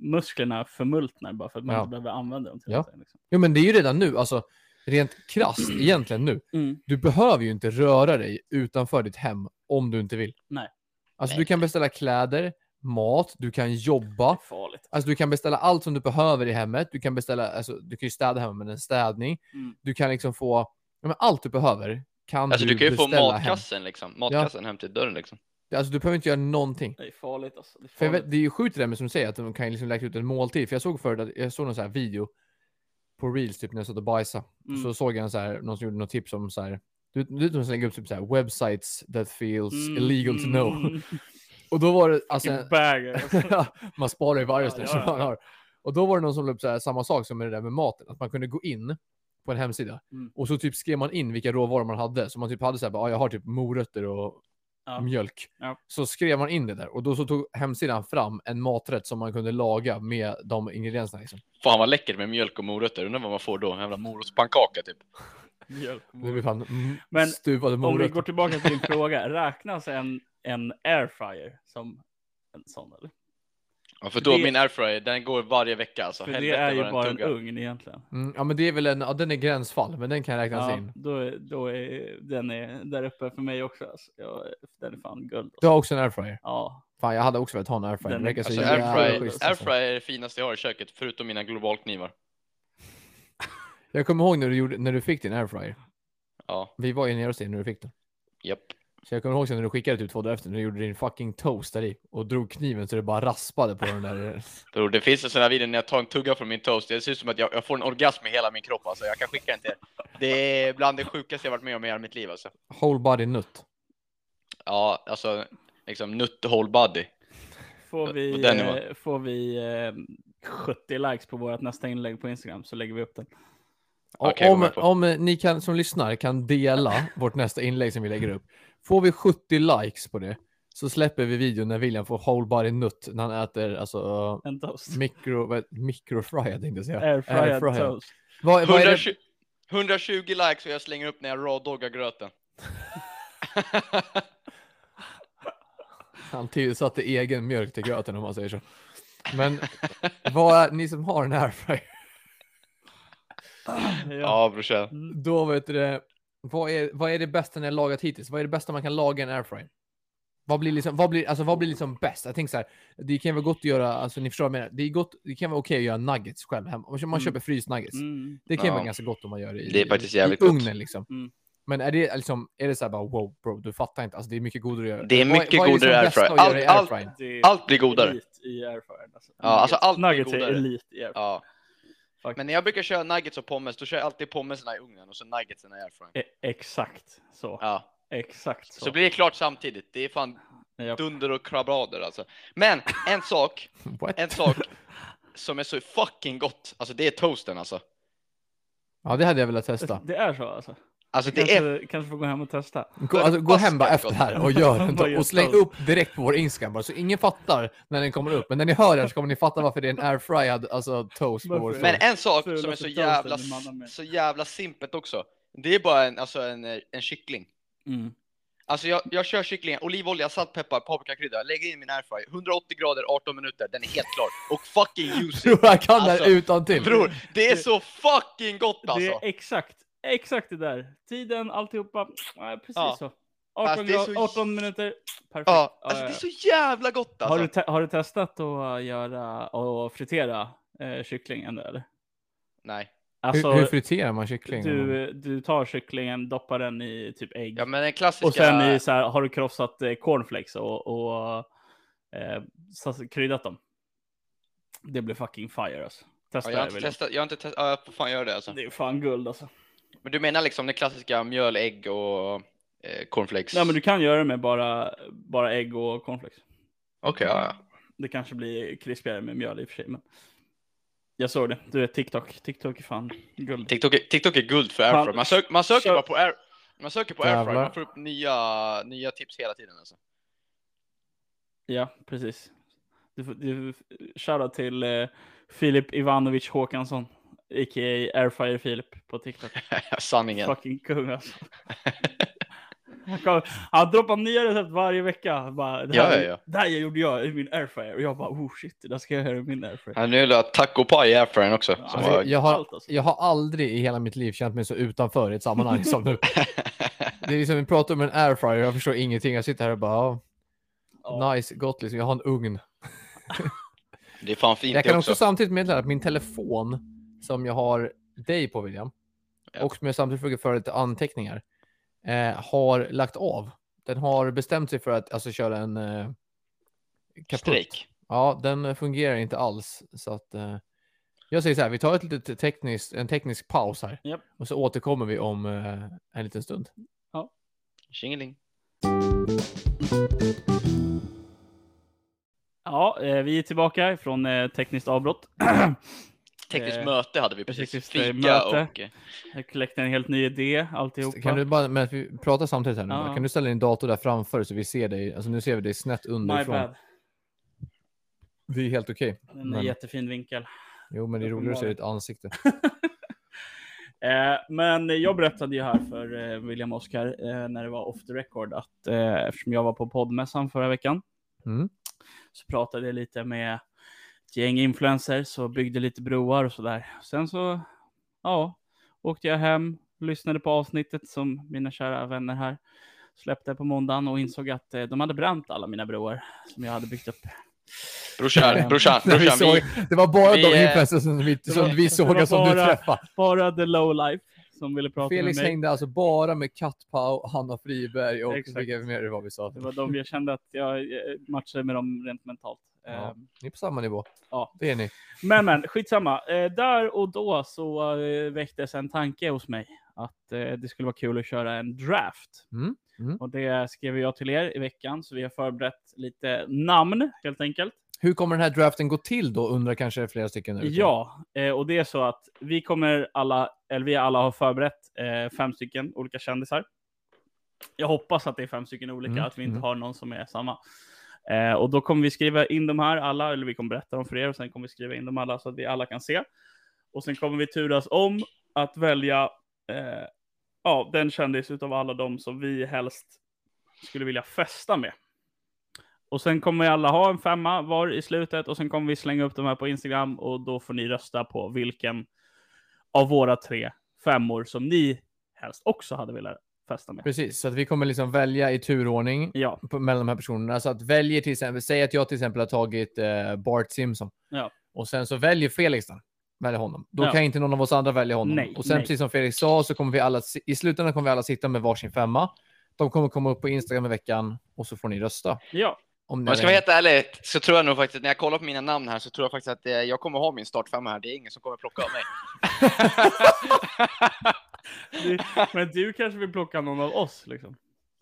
musklerna förmultnar bara för att man
Ja.
inte behöver använda dem till
Ja.
någonting. Liksom.
Jo, men det är ju redan nu, alltså rent krasst egentligen nu.
Mm.
Du behöver ju inte röra dig utanför ditt hem om du inte vill.
Nej.
Alltså
Nej.
du kan beställa kläder, mat, du kan
Det är
jobba.
farligt.
Alltså du kan beställa allt som du behöver i hemmet. Du kan beställa, alltså du kan ju städa hemma med en städning.
Mm.
Du kan liksom få, ja, men allt du behöver kan
Alltså du kan ju få
Mm. beställa hem.
matkassen liksom. Matkassen hem till dörren liksom.
Alltså du behöver inte göra någonting.
Det är farligt alltså. Det är
För jag
farligt.
vet, det är ju sjukt det där med som du säger att de kan ju liksom lägga ut en måltid. För jag såg förut, att, jag såg någon så här video på reels typ när jag satt och bajsade.
Mm.
Så såg jag en så här, någon som gjorde något tips om så här, du du vet de som lägger upp typ så här websites that feels
Mm,
illegal to
mm,
know.
mm.
Och då var det alltså,
Vilken bagger. Alltså.
man sparar ju varje
Ja,
ställe
ja,
som
ja.
man har. Och då var det någon som la upp så här, samma sak som med det där med maten, att man kunde gå in på en hemsida
Mm.
och så typ skrev man in vilka råvaror man hade. Så man typ hade så här, bara, "Ah, jag har typ morötter och
Ja.
mjölk.
Ja.
Så skrev man in det där och då så tog hemsidan fram en maträtt som man kunde laga med de ingredienserna. Liksom.
Fan vad läckert med mjölk och morötter. Undrar vad man får då? En jävla morotspannkaka typ.
Mjölk.
Det blir fan mm,
Men
stuvade
Om vi går
morötter.
tillbaka till din fråga, räknas en, en airfryer som en sån? Eller?
Ja, för då
Det-
min airfryer, den går varje vecka alltså.
För det
Helvete
är ju
vad den
bara en
tuggar.
ugn egentligen.
Mm, ja, men det är väl en, ja, den är gränsfall, men den kan räknas
Ja,
in.
då är, då är den är där uppe för mig också. Alltså. Jag, den är fan guld.
Du
Alltså.
har också en airfryer.
Ja,
Fan, jag hade också velat ha en airfryer.
Den
Den
är-
verkar så
Alltså
Det är
jävla
airfryer,
schysst, alltså.
airfryer är det finaste jag har i köket förutom mina globalknivar.
Jag kommer ihåg när du, gjorde, när du fick din airfryer.
Ja,
Vi var ju nere hos dig när du fick den.
japp.
Så jag kommer ihåg sen när du skickade ut två dagar efter när du gjorde din fucking toast där i och drog kniven så det bara raspade på den där. eh,
Bror, det finns en sån här video när jag tar en tugga från min toast. Det ser ut som att jag, jag får en orgasm i hela min kropp. Alltså. Jag kan skicka den till er. Det är bland det sjukaste jag varit med om i hela mitt liv. Alltså.
Whole body nut.
Ja, alltså liksom nutt whole body.
Får
På
vi,
den nivån.
eh, får vi eh, 70 likes på vårt nästa inlägg på Instagram så lägger vi upp den.
O-
Okej, går
om,
med på.
om ni kan, som lyssnar kan dela vårt nästa inlägg som vi lägger upp. Får vi 70 likes på det så släpper vi videon när William får whole body nut när han äter alltså uh,
En toast.
mikro, vad- mikrofriad tänkte jag säga.
Airfried
Airfried.
toast.
Vad, vad är det?
120, 120 likes och jag slänger upp när jag rawdoggar gröten.
Han tillsatte egen mjölk till gröten om man säger så. Men vad är, ni som har en airfryer,
Ja.
ja, brorsan.
då vet du det. Vad är, vad är det bästa ni har lagat hittills? Vad är det bästa man kan laga i en airfryer? Vad blir liksom, vad blir, alltså vad blir liksom bäst? Jag tänker så här, det kan vara gott att göra, alltså ni förstår vad jag menar. Det är gott, det kan vara okej att göra nuggets själv hemma. Om man
Mm.
köper fryst nuggets.
Mm.
Det kan
Ja.
vara ganska gott om man gör det i,
Det är faktiskt
i
jävligt gott.
ugnen liksom.
Mm.
Men är det liksom, är det så här bara wow bro, du fattar inte, alltså det är mycket godare att göra.
Det är
Vad
mycket
vad
godare i
liksom bästa
airfryer.
att göra i
Allt- allt-
airfryer?
Det är
Allt blir godare.
elit i airfryern. Alltså.
Ja, alltså allt blir
Nuggets är
godare.
elit i airfryern.
Ja.
Faktiskt.
Men när jag brukar köra nuggets och pommes, då kör jag alltid pommesarna i ugnen och så nuggetsen i airfryern.
E- Exakt så.
Ja.
Exakt så.
Så blir det klart samtidigt. Det är fan
Ja.
dunder och krabrader alltså. Men en sak,
What?
en sak som är så fucking gott. Alltså det är toasten alltså.
Ja, det hade jag velat testa.
Det är så alltså.
Alltså det är
Kanske, kanske får gå hem och testa.
Gå, alltså, gå hem bara efter det här och gör en
Vad gör
toast. Och släng
toast?
upp direkt på vår Instagram bara, så ingen fattar när den kommer upp. Men när ni hör den så kommer ni fatta varför det är en airfryad alltså, toast på vår
Varför?
Men
story.
en sak
Fulaste
som är så
toasten
jävla,
i mannen med.
så jävla simpelt också. Det är bara en, alltså en, eh, en kyckling.
Mm.
Alltså jag, jag kör kycklingen, olivolja, saltpeppar, paprikakrydda, lägger in min airfryer, 180 grader, 18 minuter, den är helt klar. Och fucking juicy!
Tror jag kan det här
Alltså,
utan till.
Bror, det är så fucking gott
Det
alltså!
är exakt, exakt det där. Tiden, alltihopa. Ja, precis
Ja.
så. 18,
Alltså, det är
grad,
så-
18 minuter. Perfekt.
Ja,
Ja,
alltså
ja,
det är
ja.
så jävla gott
Har, du
alltså!
te- har du testat att äh, göra och fritera eh, kycklingen nu, eller?
Nej.
Alltså,
Hur, hur friterar man kyckling?
du, du tar kycklingen, doppar den i typ ägg.
Ja men den klassiska...
och sen i, så här, har du krossat eh, cornflakes och, och eh, så- kryddat dem. Det blir fucking fire alltså.
Ja,
Testa
jag har
det
inte
William.
testat, jag har inte testat, ja, jag får fan göra det alltså.
Det är fan guld alltså.
Men du menar liksom det klassiska mjöl, ägg och eh, cornflakes?
Nej men du kan göra det med bara, bara ägg och cornflakes.
Okej, ja, ja.
Det kanske blir krispigare med mjöl i och för sig. Men... Jag såg det. Du vet TikTok. TikTok är fan guld.
TikTok, är- TikTok är guld för
Fan,
airfryer. Man, sök, man söker
kör-
bara på air, man söker på airfryer,
Jävlar.
man får upp nya, nya tips hela tiden alltså.
Ja, precis. Du, får- du, shoutout till eh, Filip Ivanovic Håkansson. A.k.a. Airfire Filip på TikTok.
Sanningen.
Fucking kung alltså. Han kom- Han droppar nya recept varje vecka. Bara, det,
Ja,
här,
ja, ja.
det här gjorde jag i min airfryer. Och jag bara oh shit, det där ska jag göra i min airfryer.
Han nu la taco pie i airfryern också.
Ja,
Som
Alltså,
var...
jag, har,
Allt, alltså.
jag har aldrig i hela mitt liv känt mig så utanför i ett sammanhang som nu. Det är liksom, vi pratar om en airfryer, jag förstår ingenting. Jag sitter här och bara,
Ja.
ja, nice, gott liksom. Jag har en ugn.
Det är fan fint
Jag
det
kan
också.
också samtidigt meddela att min telefon som jag har dig på William
Ja.
och som jag samtidigt försöker föra lite anteckningar eh, har lagt av. Den har bestämt sig för att alltså, köra en eh, kaputt.
Strejk.
Ja, den eh, fungerar inte alls. Så att, eh, jag säger så här, vi tar ett litet tekniskt, en teknisk paus här
Japp.
och så återkommer vi om eh, en liten stund.
Tjingeling.
Ja, eh, vi är tillbaka från eh, tekniskt avbrott.
Tekniskt
Eh,
möte hade vi precis.
tekniskt, eh,
Fika
möte.
och... eh,
Jag kläckte en helt ny idé, alltihopa.
Kan du bara, men vi pratar samtidigt här nu. bara.
Ja.
Kan du ställa din dator där framför så vi ser dig? Alltså nu ser vi dig snett
My
underifrån.
bad.
Det är helt okej.
En
Men-
jättefin vinkel.
Jo, men det är roligare att se ditt ansikte.
Eh, men jag berättade ju här för eh, William Oscar eh, när det var off the record att eh, eftersom jag var på poddmässan förra veckan
Mm.
så pratade jag lite med ett gäng influencers och byggde lite broar och sådär. Sen så, ja, åkte jag hem, lyssnade på avsnittet som mina kära vänner här släppte på måndagen och insåg att eh, de hade bränt alla mina broar som jag hade byggt upp.
Brorsan,
Eh,
brorsan,
När vi
brorsan.
såg,
Vi...
det var bara
vi,
de
eh,
influencers som vi,
det
som
var-
vi
det
såg
var
som du
bara-
träffade.
Bara the low life som ville prata
Felix
med mig.
hängde alltså bara med Kattpau, Hanna Friberg och
Exakt.
vilka mer det var vi sa.
Det var de jag kände att jag eh, matchade med dem rent mentalt.
Ja.
Ehm,
Ni är på samma nivå.
Ja.
Det är ni.
Men men, skitsamma. Eh, där och då så eh, väcktes en tanke hos mig att eh, det skulle vara kul att köra en draft.
Mm, mm.
Och det skrev jag till er i veckan, så vi har förberett lite namn helt enkelt.
Hur kommer den här draften gå till då? Undrar kanske flera stycken. där ute.
Ja, eh, och det är så att vi kommer alla, eller vi alla har förberett eh, fem stycken olika kändisar. Jag hoppas att det är fem stycken olika,
Mm,
att vi inte
mm.
har någon som är samma. Eh, och då kommer vi skriva in de här alla, eller vi kommer berätta dem för er och sen kommer vi skriva in dem alla så att vi alla kan se. Och sen kommer vi turas om att välja eh, ja, den kändis utav alla dem som vi helst skulle vilja festa med. Och sen kommer vi alla ha en femma var i slutet och sen kommer vi slänga upp de här på Instagram och då får ni rösta på vilken av våra tre femmor som ni helst också hade velat festa med.
Precis, så att vi kommer liksom välja i turordning
Ja,
på, mellan de här personerna. Så att väljer till exempel, säg att jag till exempel har tagit eh, Bart Simpson.
Ja.
Och sen så väljer Felix den. Väljer honom. Då
Ja.
kan inte någon av oss andra välja honom.
Nej,
och sen
nej.
precis som Felix sa så kommer vi alla, si- i slutändan kommer vi alla sitta med varsin femma. De kommer komma upp på Instagram i veckan och så får ni rösta.
ja,
Om
Om
ni
jag ska
har-
vara helt ärlig så tror jag nog faktiskt, när jag kollar på mina namn här så tror jag faktiskt att eh, jag kommer ha min startfemma här. Det är ingen som kommer plocka av mig.
du, men du kanske vill plocka någon av oss liksom.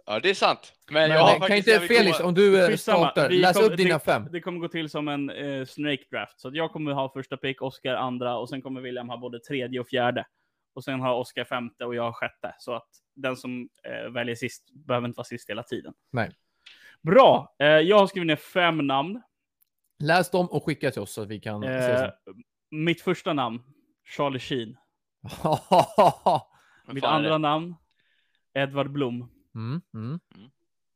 ja, det är sant. Men,
Men,
jag har
eh, kan
faktiskt-
inte
jag vill
Felix,
komma-
om du eh,
Skitsamma,
startar,
vi
läs
kommer-
upp dina fem.
Det kommer gå till som en eh, snake draft, så att jag kommer ha första pick, Oscar andra och sen kommer William ha både tredje och fjärde. Och sen har Oscar femte och jag har sjätte, så att den som eh, väljer sist behöver inte vara sist hela tiden.
Nej.
Bra, eh, jag har skrivit ner fem namn.
Läs dem och skicka till oss så att vi kan se
Eh,
sen.
mitt första namn, Charlie Sheen.
Men
Mitt
fan eh, är det?
andra namn, Edvard Blom.
mm, mm,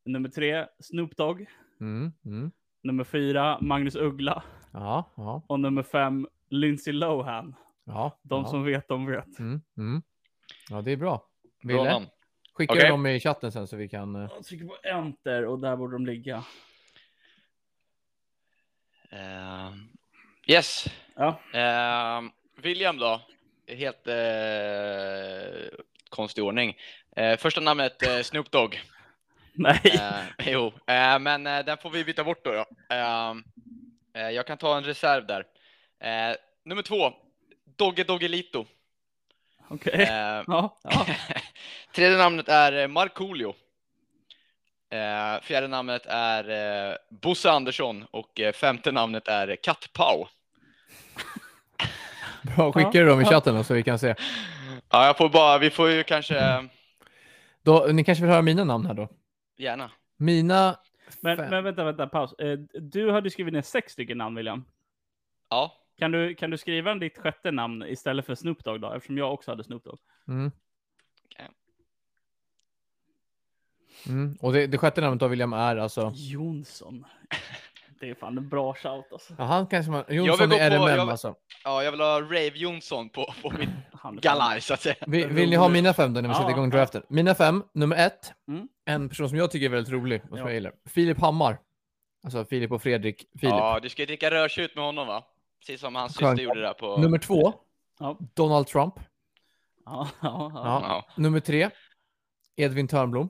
Nummer tre, Snoop Dogg.
mm, mm.
Nummer fyra, Magnus Uggla.
Ja, ja,
Och nummer fem, Lindsay Lohan.
ja.
De
ja.
som vet, de vet.
Mm, mm. Ja, det är bra.
Bra
Ville,
namn.
skicka
Okej.
dem i chatten sen så vi kan... eh,
Jag trycker på enter och där borde de ligga.
Ehm, yes.
Ja,
Ehm, William då? Helt eh, konstig ordning. Eh, första namnet eh, Snoop Dogg.
nej.
Eh, jo, eh, men eh, den får vi byta bort då. då. Ehm, eh, jag kan ta en reserv där. Eh, nummer två, Dogge Doggelito.
Okej.
Eh,
Ja, ja.
tredje namnet är eh, Markoolio. Eh, fjärde namnet är eh, Bosse Andersson och eh, femte namnet är Kattpau.
Bra, skicka dem i chatten då, så vi kan se.
Ja, jag får bara, vi får ju kanske, eh,
Då, ni kanske vill höra mina namn här då?
gärna.
Mina...
Men,
fem.
men vänta, vänta, paus. Eh, Du hade skrivit ner sex stycken namn, William.
Ja,
Kan du, kan du skriva ditt sjätte namn istället för Snoop Dogg då? Eftersom jag också hade Snoop Dogg.
Mm. Mm. Och det, det sjätte namnet av William är alltså...
Jonsson. Det är fan en bra shout alltså.
Ja, han kanske man...
Jag vill
Jonsson
gå
är
på-
RMM
jag vill-
alltså.
ja, jag vill ha Rave Jonsson på, på mitt
Han är fan-
galaj så att säga.
Vi, vill ni ha mina fem då när vi
Ja.
sätter igång draften? Mina fem, nummer ett.
Mm.
En person som jag tycker är väldigt rolig och som
Ja.
jag gillar. Filip Hammar. Alltså Filip och Fredrik. Filip.
Ja, du ska ju dricka rödtjut med honom va? Precis som hans
Skönt.
syster gjorde där på...
Nummer två,
Ja.
Donald Trump.
Ja, ja, ja.
Ja.
Ja.
Nummer tre, Edvin Törnblom.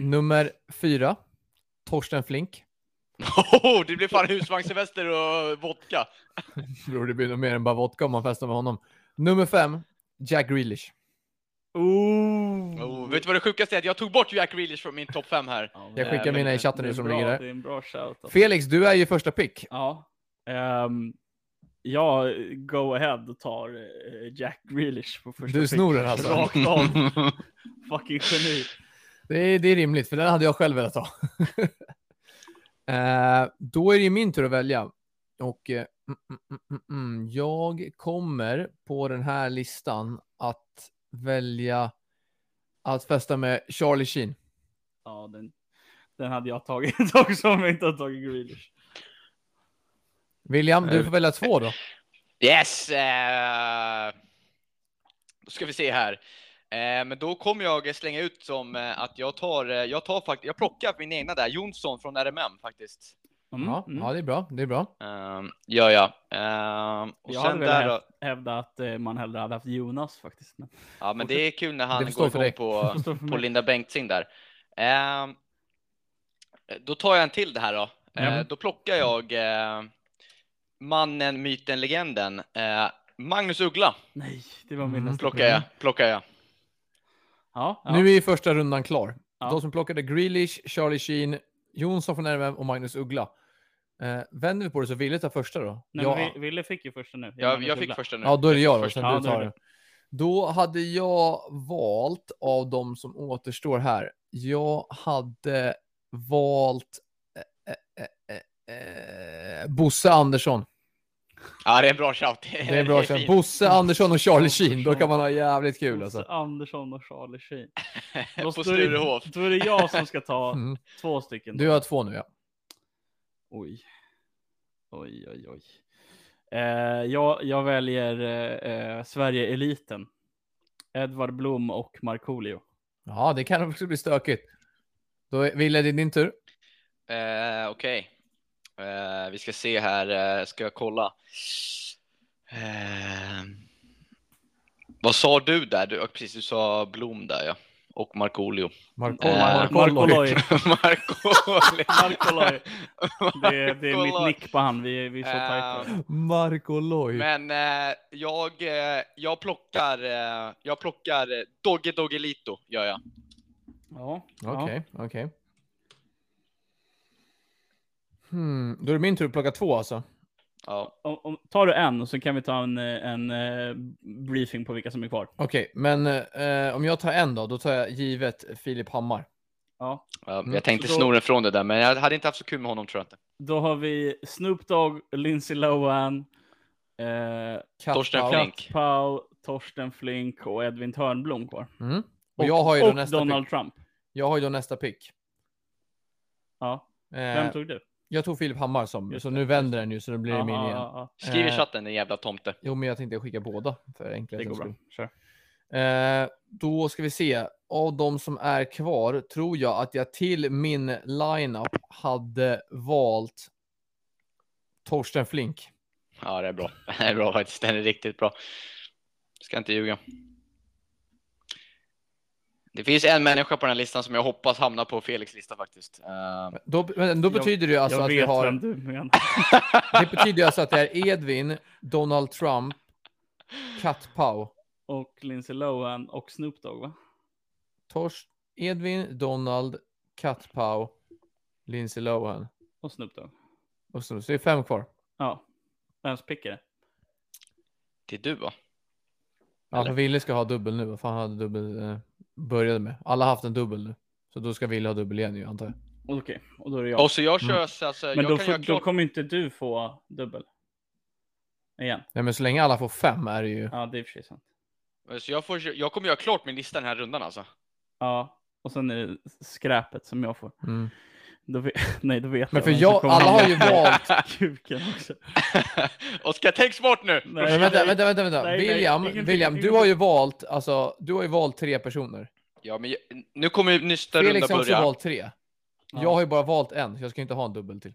Nummer fyra, Torsten Flink.
Oh, det blir fan husvagnssemester och vodka.
Bror, det blir nog mer än bara vodka om man festar med honom. Nummer fem, Jack Grealish.
Oh.
Oh, vet du vad det sjukaste är? Att Jag tog bort Jack Grealish från min topp fem här.
Ja, men-
Jag
skickar
men
mina i
det-
chatten
det
nu
är
som
bra,
ligger där.
Det är en bra shout alltså.
Felix, du är ju första pick.
Ja. Ehm, jag go ahead och tar eh, Jack Grealish på första
Du
pick.
snor den alltså.
Rakt av. Fucking geni.
Det är, det är rimligt, för den hade jag själv velat ha. eh, då är det ju min tur att välja. Och eh, mm, mm, mm, mm, mm, jag kommer på den här listan att välja att festa med Charlie Sheen.
Ja, den, den hade jag tagit också om jag inte hade tagit Grealish.
William, du
Eh,
får välja två då.
Yes! eh, Då ska vi se här. Eh, Men då kommer jag slänga ut som eh, att jag tar, eh, jag tar faktiskt, jag plockar min egna där, Jonsson från RMM faktiskt.
Mm,
ja,
mm.
ja, det är bra. Det är bra.
Ehm, gör jag. Ehm, och
Jag
sen
hade
där
väl
då,
häv- hävdat att eh, man hellre hade haft Jonas faktiskt. Men,
Ja, men det är kul när
Det
han
förstår
går
för
igång
dig.
på,
Förstår för
på
mig.
Linda Bengtzing där. Ehm, då tar jag en till det här då. Ehm,
Mm.
då plockar jag eh, mannen, myten, legenden. Eh, Magnus Uggla
nej, det var min
Mm.
nästa.
plockar jag.
Mm.
Plockar jag.
Ja, ja.
Nu är första rundan klar.
Ja.
De som plockade Grealish, Charlie Sheen, Jonsson från RMM och Magnus Uggla. Eh, vänder vi på det så Ville tar första då.
nej,
ja,
men Vi- Ville fick ju första nu.
Jag,
Magnus
jag fick
Uggla.
första nu.
ja, då är det jag då,
Först.
sen
Ja,
du
då är
tar
det.
det. Då hade jag valt av de som återstår här. Jag hade valt eh, eh, eh, eh, Bosse Andersson.
Ja, det är en bra shout. Det
Det är bra.
fint.
känt. Bosse Andersson och Charlie
Andersson.
Sheen. Då kan man ha jävligt kul
Bosse
alltså.
Andersson och Charlie Sheen. Då
På
står det-
Sturehof.
Då är det jag som ska ta
Mm.
två stycken.
Du har två nu ja.
Oj. Oj, oj, oj. Eh, jag, jag väljer eh, eh, Sverige-eliten. Edvard Blom och Markoolio.
Ja, det kan också bli stökigt. Då är, Ville, det är din tur.
Eh, Okej. Eh, vi ska se här. eh, ska jag kolla? Eh, vad sa du där? Du, ja, precis, du sa Blom där ja. Och Markoolio.
Marko,
Eh,
Marko,
Markoloj.
Markoolio.
Markoloj. Det, det är mitt
Markoloj.
nick på han. Vi, vi är så
Eh,
tajta.
Marko Loj.
Men eh, jag, eh, jag plockar, eh, jag plockar eh, Dogge Doggelito gör jag.
Ja, ja.
Okej, okej. Hmm, då är det min tur att plocka två alltså.
Ja.
Om, om, tar du en och så kan vi ta en, eh, en eh, briefing på vilka som är kvar.
Okej, men eh, om jag tar en då, då tar jag givet Filip Hammar.
Ja.
Ja,
Mm.
jag tänkte
Så då-
sno den från det där, men jag hade inte haft så kul med honom tror jag inte.
Då har vi Snoop Dogg, Lindsay Lohan, eh,
Kat
Torsten
Bauer.
Flink.
Kat Pau, Torsten Flink och Edvin Törnblom kvar.
Mm. Och jag har ju då
och
nästa
Donald
pick.
Trump.
Jag har ju då nästa pick.
Ja, vem
Eh,
tog du?
jag tog Filip Hammar som,
Just
så
det,
nu
just
vänder den ju så det blir
Ja,
min
ja,
igen.
ja,
Skriv i
Eh,
chatten din jävla tomte.
Jo, men jag tänkte skicka båda för
ja. Det
enkelhetens
går bra.
skull.
Kör.
Eh, då ska vi se. Av de som är kvar tror jag att jag till min lineup hade valt Torsten Flink.
Ja, det är bra. Det är bra faktiskt. Den är riktigt bra. Ska inte ljuga. Det finns en människa på den här listan som jag hoppas hamnar på Felix lista faktiskt. Eh,
Då, men då
Jag-
betyder det ju alltså
jag
att
vet
vi
vem
har...
du menar.
Det betyder ju alltså att det är Edvin, Donald Trump, Kat Pau.
Och Lindsay Lohan och Snoop Dogg va?
Tors, Edvin, Donald, Kat Pau, Lindsay Lohan.
Och Snoop Dogg.
Och så, så det är fem kvar.
Ja. Vems pick är det?
det är du va?
Ja, för
Eller?
Ville ska ha dubbel nu. Vad fan hade dubbel eh, började med? Alla har haft en dubbel nu. Så då ska Ville ha dubbel igen ju antar jag.
Okej, och då är det jag.
Och så jag kör så alltså,
Men
jag
då,
kan
får,
göra klart.
då kommer inte du få dubbel. Igen.
Nej, men så länge alla får fem är det ju.
Ja, det är i och för sig sant.
Så jag, får, jag kommer göra klart min lista den här rundan alltså.
Ja, och sen är det skräpet som jag får.
Mm.
Då vet, nej, då vet
Men
jag
för
vem
jag-
som kommer
alla har ju
hamna på
valt-
Kuken också.
Oskar, tänk smart nu!
Nej,
Men vänta,
nej.
vänta, vänta, vänta.
nej, nej,
William,
ingenting,
William, du
ingenting.
har ju valt, alltså, du har ju valt tre personer.
Ja, men jag- nu kommer ju nästa runda
Felix har också
börja.
valt tre. Jag har ju bara valt en, så jag ska inte ha en dubbel till.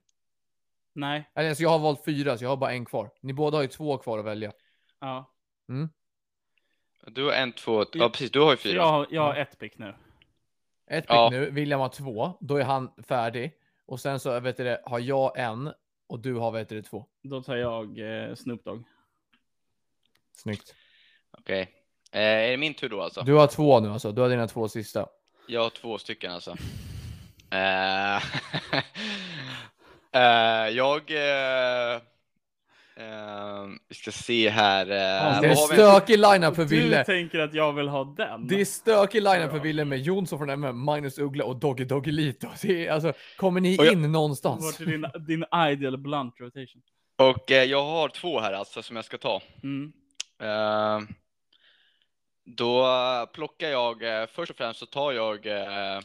Nej,
Eller, Alltså, jag har valt fyra, så jag har bara en kvar. Ni båda har ju två kvar att välja.
ja.
Du har en, två, ja precis, du har ju
Så Jag,
fyra.
har- jag har ett pick nu.
Ett pick
Ja.
nu, William har två, då är han färdig. Och sen så vet du det, har jag en och du har vet du det, två.
Då tar jag eh, Snoop Dogg.
Snyggt.
Okej. Eh, är det min tur då alltså?
Du har två nu alltså, du har dina två
Äh,
sista.
Jag har två stycken alltså. Eh, eh, jag... eh, eh, vi ska se här. eh,
Ja,
det är
vad har vi?
stökig lineup för
du
Ville.
tänker att jag vill ha den?
Det är stökig lineup för
Ja.
Ville med Jonsson från MM, Magnus Uggla och Doggy Doggy Lito. Det är, alltså, kommer ni
Och jag-
in
Vart
någonstans?
är din, din ideal blunt rotation?
Och eh, jag har två här alltså som jag ska ta.
Mm.
Eh, då plockar jag, eh, först och främst så tar jag eh,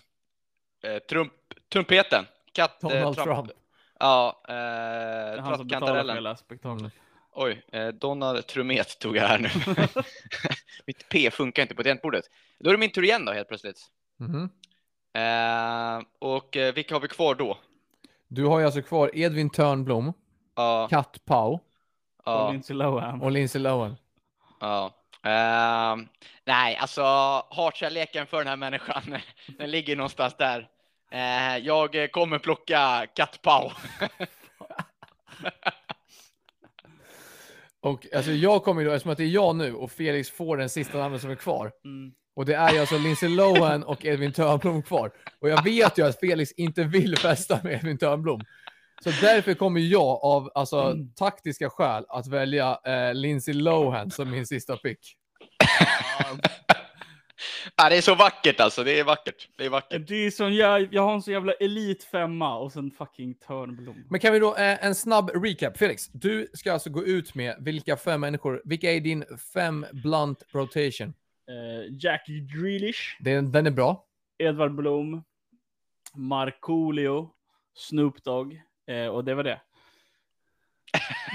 eh, trump, trumpeten. Katt, eh,
Donald
Trump-
Trump.
Ja, eh,
Det är han som betalar för
trattkantarellen.
hela spektaklet.
Oj, eh, Donald Trumet tog jag här nu. Mitt P funkar inte på tangentbordet. Då är det min tur igen då helt plötsligt.
Mhm.
Eh, och eh, vilka har vi kvar då?
Du har ju alltså kvar Edvin Törnblom,
Ja,
Kat Pau
Och
ja,
Lindsay Lohan.
och Lindsay Lohan.
ja. Ehm, nej, alltså hatkärleken för den här människan, den ligger någonstans där. Eh, jag kommer plocka kattpau.
Och alltså jag kommer ju då, eftersom att det är jag nu och Felix får den sista namnet som är kvar.
Mm.
Och det är ju alltså Lindsay Lohan och Edvin Törnblom kvar. Och jag vet ju att Felix inte vill festa med Edvin Törnblom. Så därför kommer jag av alltså, taktiska skäl att välja eh, Lindsay Lohan som min sista pick.
Ja, det är så vackert alltså, det är vackert. Det är vackert.
Det är sån jag, jag har en sån jävla elit femma och sen fucking Törnblom.
Men kan vi då, eh, en snabb recap. Felix, du ska alltså gå ut med vilka fem människor, vilka är din fem blunt rotation?
Eh, Jackie Grealish,
Den, den är bra.
Edvard Blom, Markoolio, Snoop Dogg eh, och det var det.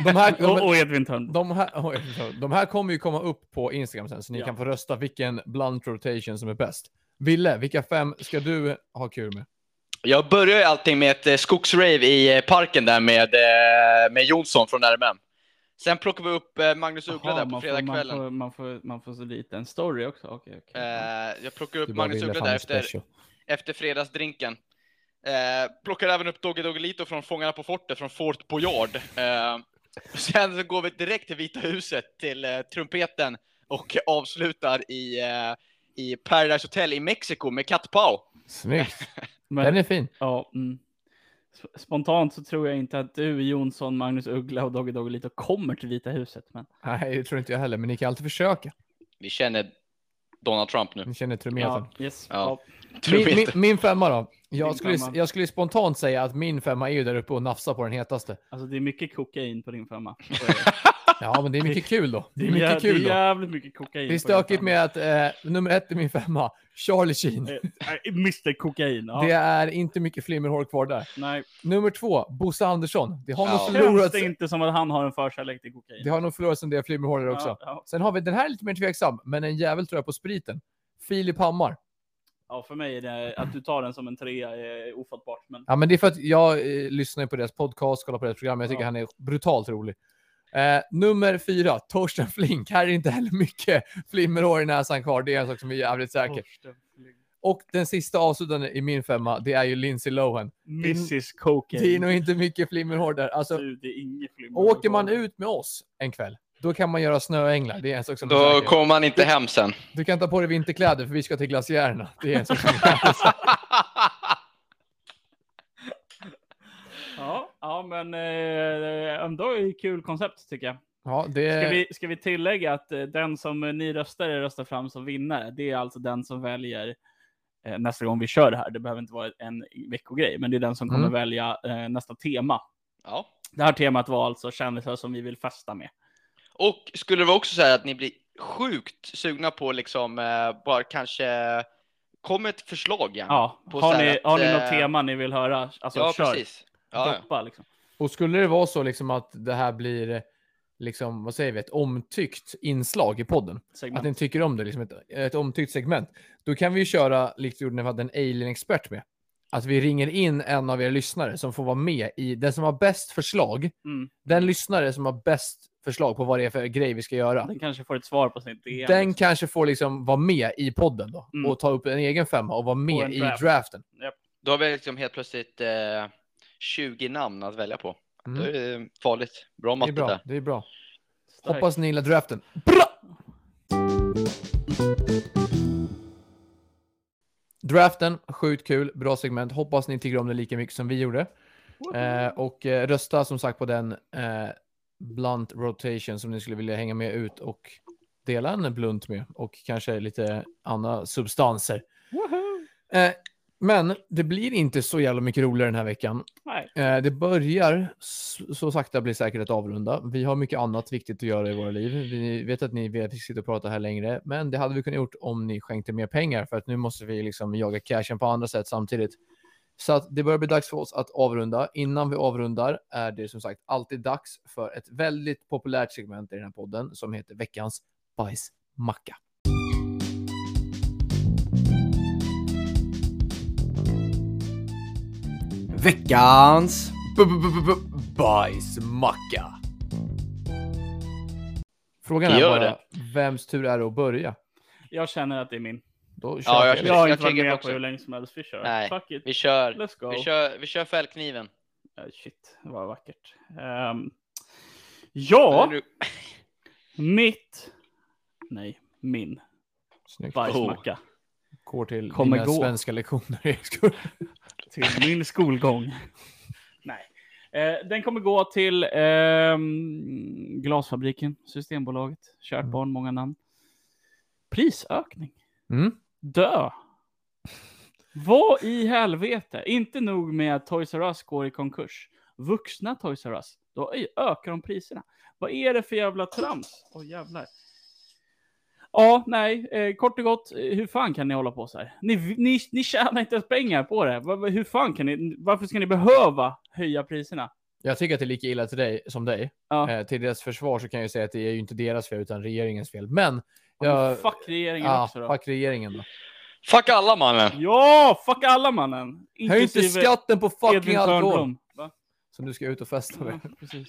De här, de,
Och, och Edvin Törnblom.
de, här, oj, de här kommer ju komma upp på Instagram sen, så ni
Ja.
kan få rösta vilken blunt rotation som är bäst. Ville, vilka fem ska du ha kul med?
Jag börjar ju allting med ett eh, skogsrave i eh, parken där med, eh, med Jonsson från RMM. Sen plockar vi upp eh, Magnus Uggla
Jaha,
där på
man, får, man,
fredagskvällen.
får, man, får, man får så lite en story också. Okej, okej.
Eh, jag plockar upp
Du bara,
Magnus
Ville,
Uggla
fan,
där
är
efter,
special.
efter fredagsdrinken. Eh, plockar även upp Dogge Doggelito från Fångarna på fortet, från Fort Boyard. Eh, sen så går vi direkt till Vita huset, till eh, trumpeten och avslutar i, eh, i Paradise Hotel i Mexiko med Cat Pau.
Snyggt.
Men-
Den är fin.
Ja, mm. Sp- Spontant så tror jag inte att du, Jonsson, Magnus Uggla och Dogge Doggelito kommer till Vita huset. Men
Nej, det tror inte jag heller, men ni kan alltid försöka.
Vi känner Donald Trump nu.
Ni känner trumheten.
ja, yes.
Ja.
Ja.
Min, min,
Trumpeten.
min femma då? Jag
Din
skulle,
femma.
jag skulle spontant säga att min femma är ju där uppe och nafsar på den hetaste.
Alltså det är mycket kokain på din femma.
Ja, men det är mycket kul då. Det är
jä-
mycket kul
Det är
då.
jävligt mycket kokain.
Det är
på din
stökigt
femma.
med att eh, nummer ett i min femma, Charlie Sheen.
Eh, eh, Mr Kokain. Ja.
Det är inte mycket flimmerhår kvar där.
Nej,
Nummer två, Bosse Andersson. Det har
Ja.
nog
känns
förlorats.
det inte som att han har en förkärlek till kokain?
Det har nog förlorats en del flimmerhår där också.
Ja, ja.
Sen har vi den här är lite mer tveksam, men en jävel tror jag på spriten. Filip Hammar.
ja, för mig är det att du tar den som en trea är ofattbart. Men
Ja, men det är för att jag eh, lyssnar ju på deras podcast, kollar på deras program. Jag tycker
Ja.
han är brutalt rolig. Eh, nummer fyra, Torsten Flink. Här är inte heller mycket flimmerhår i näsan kvar. Det är en sak som är jävligt säker.
Torsten Flink.
Och den sista avslutande i min femma, det är ju Lindsay Lohan.
Mrs
Det är
Cocaine.
nog inte mycket flimmerhår där. Alltså,
Du, det är inget flimmer.
åker man ut med oss en kväll, då kan man göra snöänglar. Det är en sak som är
Då
säker.
kommer han inte hem sen.
Du kan ta på dig vinterkläder för vi ska till glaciärerna. Det är en sak som
Ja, ja men eh, ändå är det ett kul koncept tycker jag.
Ja, det...
Eh.
Ska vi, ska vi tillägga att eh, den som eh, ni röstare röstar fram som vinnare, det är alltså den som väljer eh, nästa gång vi kör det här. Det behöver inte vara en veckogrej, men det är den som kommer
Mm.
välja eh, nästa tema.
Ja.
Det här temat var alltså kändisar som vi vill festa med.
Och skulle det vara också så här att ni blir sjukt sugna på liksom eh, bara kanske kom ett förslag gärna.
Ja,
På
har
så här
ni,
att,
har ni
eh,
något tema ni vill höra? Alltså
ja
kör.
precis. Ja, ja.
Droppa, liksom.
Och skulle det vara så liksom att det här blir eh, liksom, vad säger vi, ett omtyckt inslag i podden. Att
Segment.
ni tycker om det, liksom ett, ett omtyckt segment. Då kan vi ju köra, likt vi gjorde när vi hade en alien-expert med. Att vi ringer in en av er lyssnare som får vara med i, den som har bäst förslag,
Mm.
den lyssnare som har bäst förslag på vad det är för grej vi ska göra.
Den kanske får ett svar på sin DM.
Den kanske får liksom vara med i podden då
Mm.
och ta upp en egen femma och vara med
en
i
draft.
draften.
Då har vi liksom helt plötsligt eh, 20 namn att välja på.
Mm.
Då är det farligt. Bra
Det är
matte
bra.
där.
Det är bra.
Stark.
Hoppas ni gillar draften. Draften, sjukt kul, bra segment. Hoppas ni tycker om det lika mycket som vi gjorde. Eh, och eh, rösta som sagt på den eh, blunt rotation som ni skulle vilja hänga med ut och dela en blunt med och kanske lite andra substanser.
Woho!
Eh, men det blir inte så jävla mycket roligare den här veckan.
Nej.
Eh, det börjar s- så sakta bli säkert att avrunda. Vi har mycket annat viktigt att göra i våra liv. Vi vet att ni vet att vi sitter och pratar här längre, men det hade vi kunnat gjort om ni skänkte mer pengar för att nu måste vi liksom jaga cashen på andra sätt samtidigt. Så att det börjar bli dags för oss att avrunda. Innan vi avrundar är det som sagt alltid dags för ett väldigt populärt segment i den här podden som heter veckans bajsmacka. Veckans b- b- b- b- bajsmacka. Frågan är
Gör
bara,
det.
vems tur är det att börja?
Jag känner att det är min.
Då kör
Ja, jag
Felix.
känner-
Jag har inte
tänker
varit med
också.
på hur länge som helst. Vi kör.
Nej.
Fuck it.
Vi kör,
Let's go.
vi kör, vi kör fällkniven.
Eh, Shit, vad vackert. Ehm, ja,
Nu-
mitt. Nej, min
Snyggt.
bajsmacka.
Går till
Kommer
dina
gå.
svenska lektioner Erik Skog.
till min skolgång. Nej. Eh, den kommer gå till ehm, Glasfabriken, Systembolaget, kärt
Mm.
barn, många namn. Prisökning.
Mm.
Dö. Vad i helvete? Inte nog med att Toys R Us går i konkurs. Vuxna Toys R Us, då ö- ökar de priserna. Vad är det för jävla trams? Åh jävlar. Ja, nej, eh, kort och gott, eh, hur fan kan ni hålla på så här? Ni, ni, ni tjänar inte ens pengar på det. Va- va- hur fan kan ni? Varför ska ni behöva höja priserna?
Jag tycker att det är lika illa till dig som dig.
Ja.
Eh, till deras försvar så kan jag ju säga att det är ju inte deras fel utan regeringens fel. Men
Ja,
jag,
fuck regeringen
ja,
också då.
fuck regeringen då.
Fuck alla mannen!
Ja, fuck alla mannen.
Höj inte
Inklusive
skatten på fucking
Edvin
alkohol
Törnblom. Va?
som du ska ut och festa med.
Ja, precis.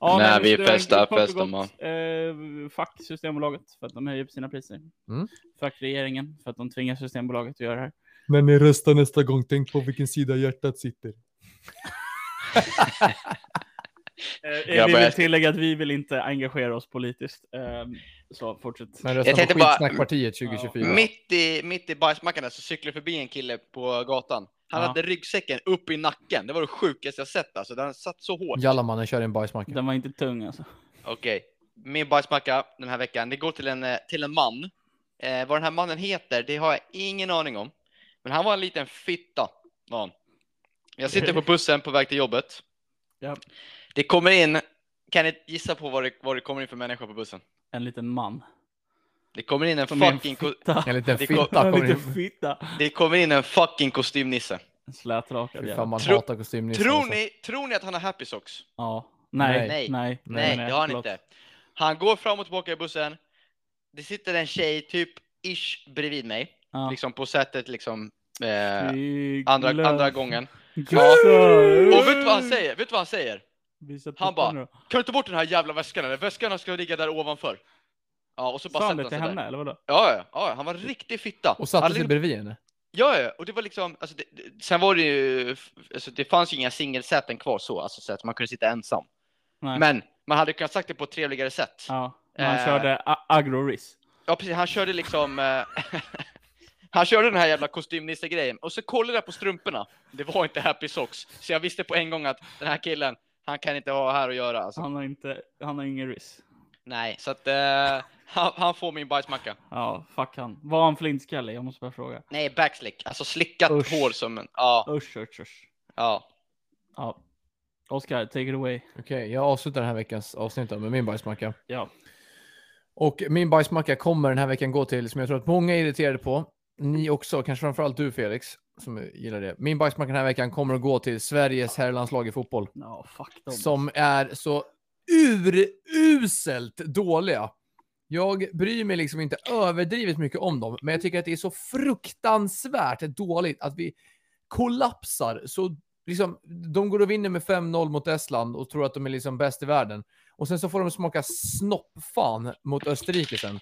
Ja,
Nej,
men
vi
det
festar,
kort och
festar,
gott, Eh, fuck Systembolaget för att de höjer upp sina priser.
Mm.
Fuck regeringen för att de tvingar Systembolaget att göra det här.
När ni röstar nästa gång, tänk på vilken sida hjärtat sitter.
Eh,
Jag
vi
börjar-
vill tillägga att vi vill inte engagera oss politiskt. Eh, så fortsätt.
Men
Jag
rösta
tänkte
på
bara-
skitsnackpartiet 2024.
Mitt i, mitt i bajsmackan där så cyklade förbi en kille på gatan. Han
Ja.
hade ryggsäcken upp i nacken. Det var det sjukaste jag sett alltså. Den satt så hårt.
Jallamannen kör en bajsmacka.
Den var inte tung alltså.
Okej, min bajsmacka den här veckan, det går till en, eh, till en man. Eh, vad den här mannen heter, det har jag ingen aning om. Men han var en liten fitta, var han. Jag sitter på bussen på väg till jobbet.
Ja.
Det kommer in, kan ni gissa på vad det, vad det kommer in för människa på bussen?
En liten man.
Det kommer in en
Som är en
fucking, ko-
fitta.
En liten
Det kom-
fitta
En
kommer
liten
in.
fitta.
det kommer in en fucking kostymnisse.
En slätrakad
Fy fan,
jävel.
man
Tro-
hatar kostymnissar.
Tror
alltså.
ni, tror ni att han har happy socks?
Ja. Nej,
Nej.
nej, nej.
Nej, det har han
förlåt.
inte. Han går fram och tillbaka i bussen. Det sitter en tjej typ ish bredvid mig,
Ja.
liksom på sätet liksom. Eh,
Snygg
andra,
lös.
andra gången. Mm.
Gussar.
Och vet du vad han säger? Vet du vad han säger?
Visa
Han bara,
tuttarna då.
Kan du ta bort den här jävla väskan eller? Väskan ska ligga där ovanför. Ja, och så bara
Sa han
satte
det
han
till
sig
henne
där.
eller vadå?
Ja, ja, ja, han var riktig fitta.
Och satte
Han
sig
lin-
bredvid henne.
Ja, ja, och det var liksom, alltså, det, det, sen var det ju, alltså, det fanns ju inga singelsäten kvar så, alltså så att man kunde sitta ensam.
Nej.
Men man hade kunnat sagt det på ett trevligare sätt.
Ja, men han
Eh.
körde a- agro-riss.
Ja precis, han körde liksom eh, Han körde den här jävla kostymnisse-grejen och så kollade jag på strumporna Det var inte happy socks Så jag visste på en gång att den här killen Han kan inte ha här att göra alltså.
Han har, inte, han har ingen riss.
Nej, så att eh, han, han får min bajsmacka
Ja, fuck han. Var han flintskallig? Jag måste bara fråga.
Nej, backslick, alltså slickat
Usch.
hår som en Ja,
Usch, usch, usch.
ja
Ja. Oskar, take it away.
Okej, jag avslutar den här veckans avsnitt då med min bajsmacka.
Ja.
Och min bajsmacka kommer den här veckan gå till, som jag tror att många är irriterade på. Ni också, kanske framförallt du Felix, som gillar det. Min bajsmacka den här veckan kommer att gå till Sveriges herrlandslag i fotboll.
Ja, fuck dem.
Som är så uruselt dåliga. Jag bryr mig liksom inte överdrivet mycket om dem, men jag tycker att det är så fruktansvärt dåligt att vi kollapsar. Så liksom, de går och vinner med 5-0 mot Estland och tror att de är liksom bäst i världen. Och sen så får de smaka snoppfan mot Österrike sen.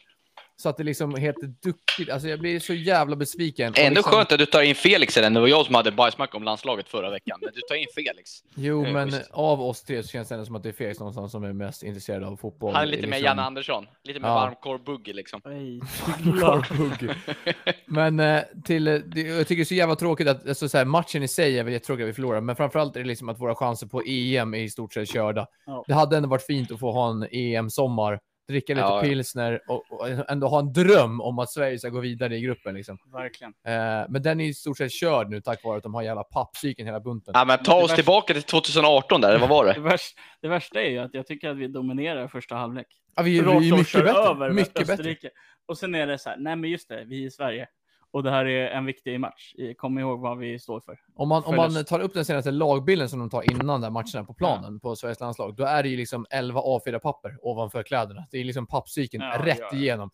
Så att det liksom är helt duktigt. Alltså jag blir så jävla besviken. Och
Ändå
liksom,
skönt att du tar in Felix i den, det var jag som hade bajsmacka om landslaget förra veckan Men du tar in Felix
Jo,
Eh,
men
schysst.
av oss tre så känns det ändå som att det är Felix någonstans som är mest intresserad av fotboll.
Han är lite mer
Liksom-
Janne Andersson, lite mer
Ja.
varmkorv boogie liksom
Nej,
Korvhugg. Men eh, till, eh, det, jag tycker det är så jävla tråkigt att alltså, så här, matchen i sig är väl jättetråkig att vi förlorar, men framförallt är det liksom att våra chanser på EM är i stort sett körda.
Ja.
Det hade ändå varit fint att få ha en EM-sommar, dricka lite
Ja, ja.
pilsner och, och ändå ha en dröm om att Sverige ska gå vidare i gruppen. Liksom.
verkligen.
Eh, men den är i stort sett körd nu tack vare att de har jävla pappcykeln hela bunten.
Ja men ta
Det
oss
värsta-
tillbaka till 2018 där, eller vad var det?
Det, värst, det värsta är ju att jag tycker att vi dominerar första halvlek.
Ja, vi, vi
Rakt av
är mycket
kör
bättre.
över
mycket bättre.
Österrike. Och sen är det så här, nej men just det, vi är i Sverige. Och det här är en viktig match. Kom ihåg vad vi står för.
Om man, om
Förlust.
man tar upp den senaste lagbilden som de tar innan där matcherna på planen på Sveriges landslag, då är det ju liksom 11 A4-papper ovanför kläderna. Det är liksom pappcykeln
Ja,
rätt
ja, ja.
igenom.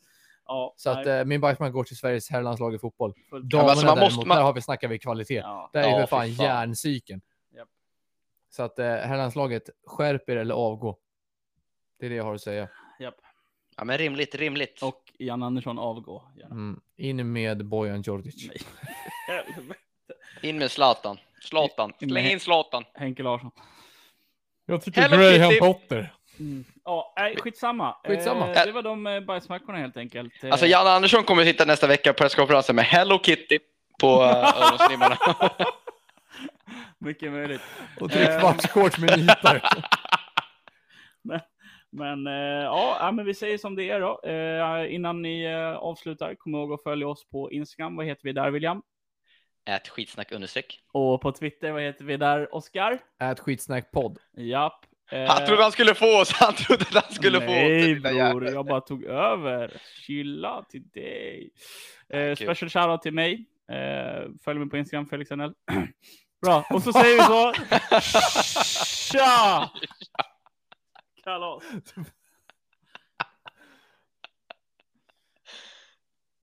Ja,
Så att
nej,
eh, min bajsman går till Sveriges herrlandslag i fotboll.
fullt-
Damerna
alltså, man måste-
däremot,
man-
där har vi, snackar vi kvalitet.
Ja.
Där är
Ja,
för
fy
fan
fan.
järncykeln.
Ja.
Så att eh, herrlandslaget, skärp er eller avgå. Det är det jag har att säga.
Ja, men rimligt, rimligt.
Och Jan Andersson avgå. gärna.
Mm. In med Bojan Djordjic.
Nej. Helvete.
In med Zlatan. Zlatan.
In med-
Släng in Zlatan.
Henke Larsson.
Jag tycker
Hello Graham Kitty!
Potter.
Mm. Ja, nej, skitsamma.
Skitsamma.
Eh, det var de eh, bajsmackorna helt enkelt. Eh,
Alltså Janne Andersson kommer sitta nästa vecka på presskonferensen med Hello Kitty på eh, öronsnibbarna.
Mycket möjligt.
Och
Eh.
trekvartsshorts med nitar.
Men eh, ja, ja, men vi säger som det är då. Eh, innan ni eh, avslutar, kom ihåg att följa oss på Instagram. Vad heter vi där William?
Ät skitsnack understreck.
Och på Twitter, vad heter vi där Oskar?
Ät skitsnackpodd.
Japp. Eh,
Han trodde han skulle få oss. Han trodde att han skulle få oss. den
Nej
lilla
bror,
jäveln.
jag bara tog över. Chilla till dig. Eh,
kul.
special shoutout till mig. Eh, följ mig på Instagram, Felix Arnell. Bra, och så säger vi så. Tja! Kalas.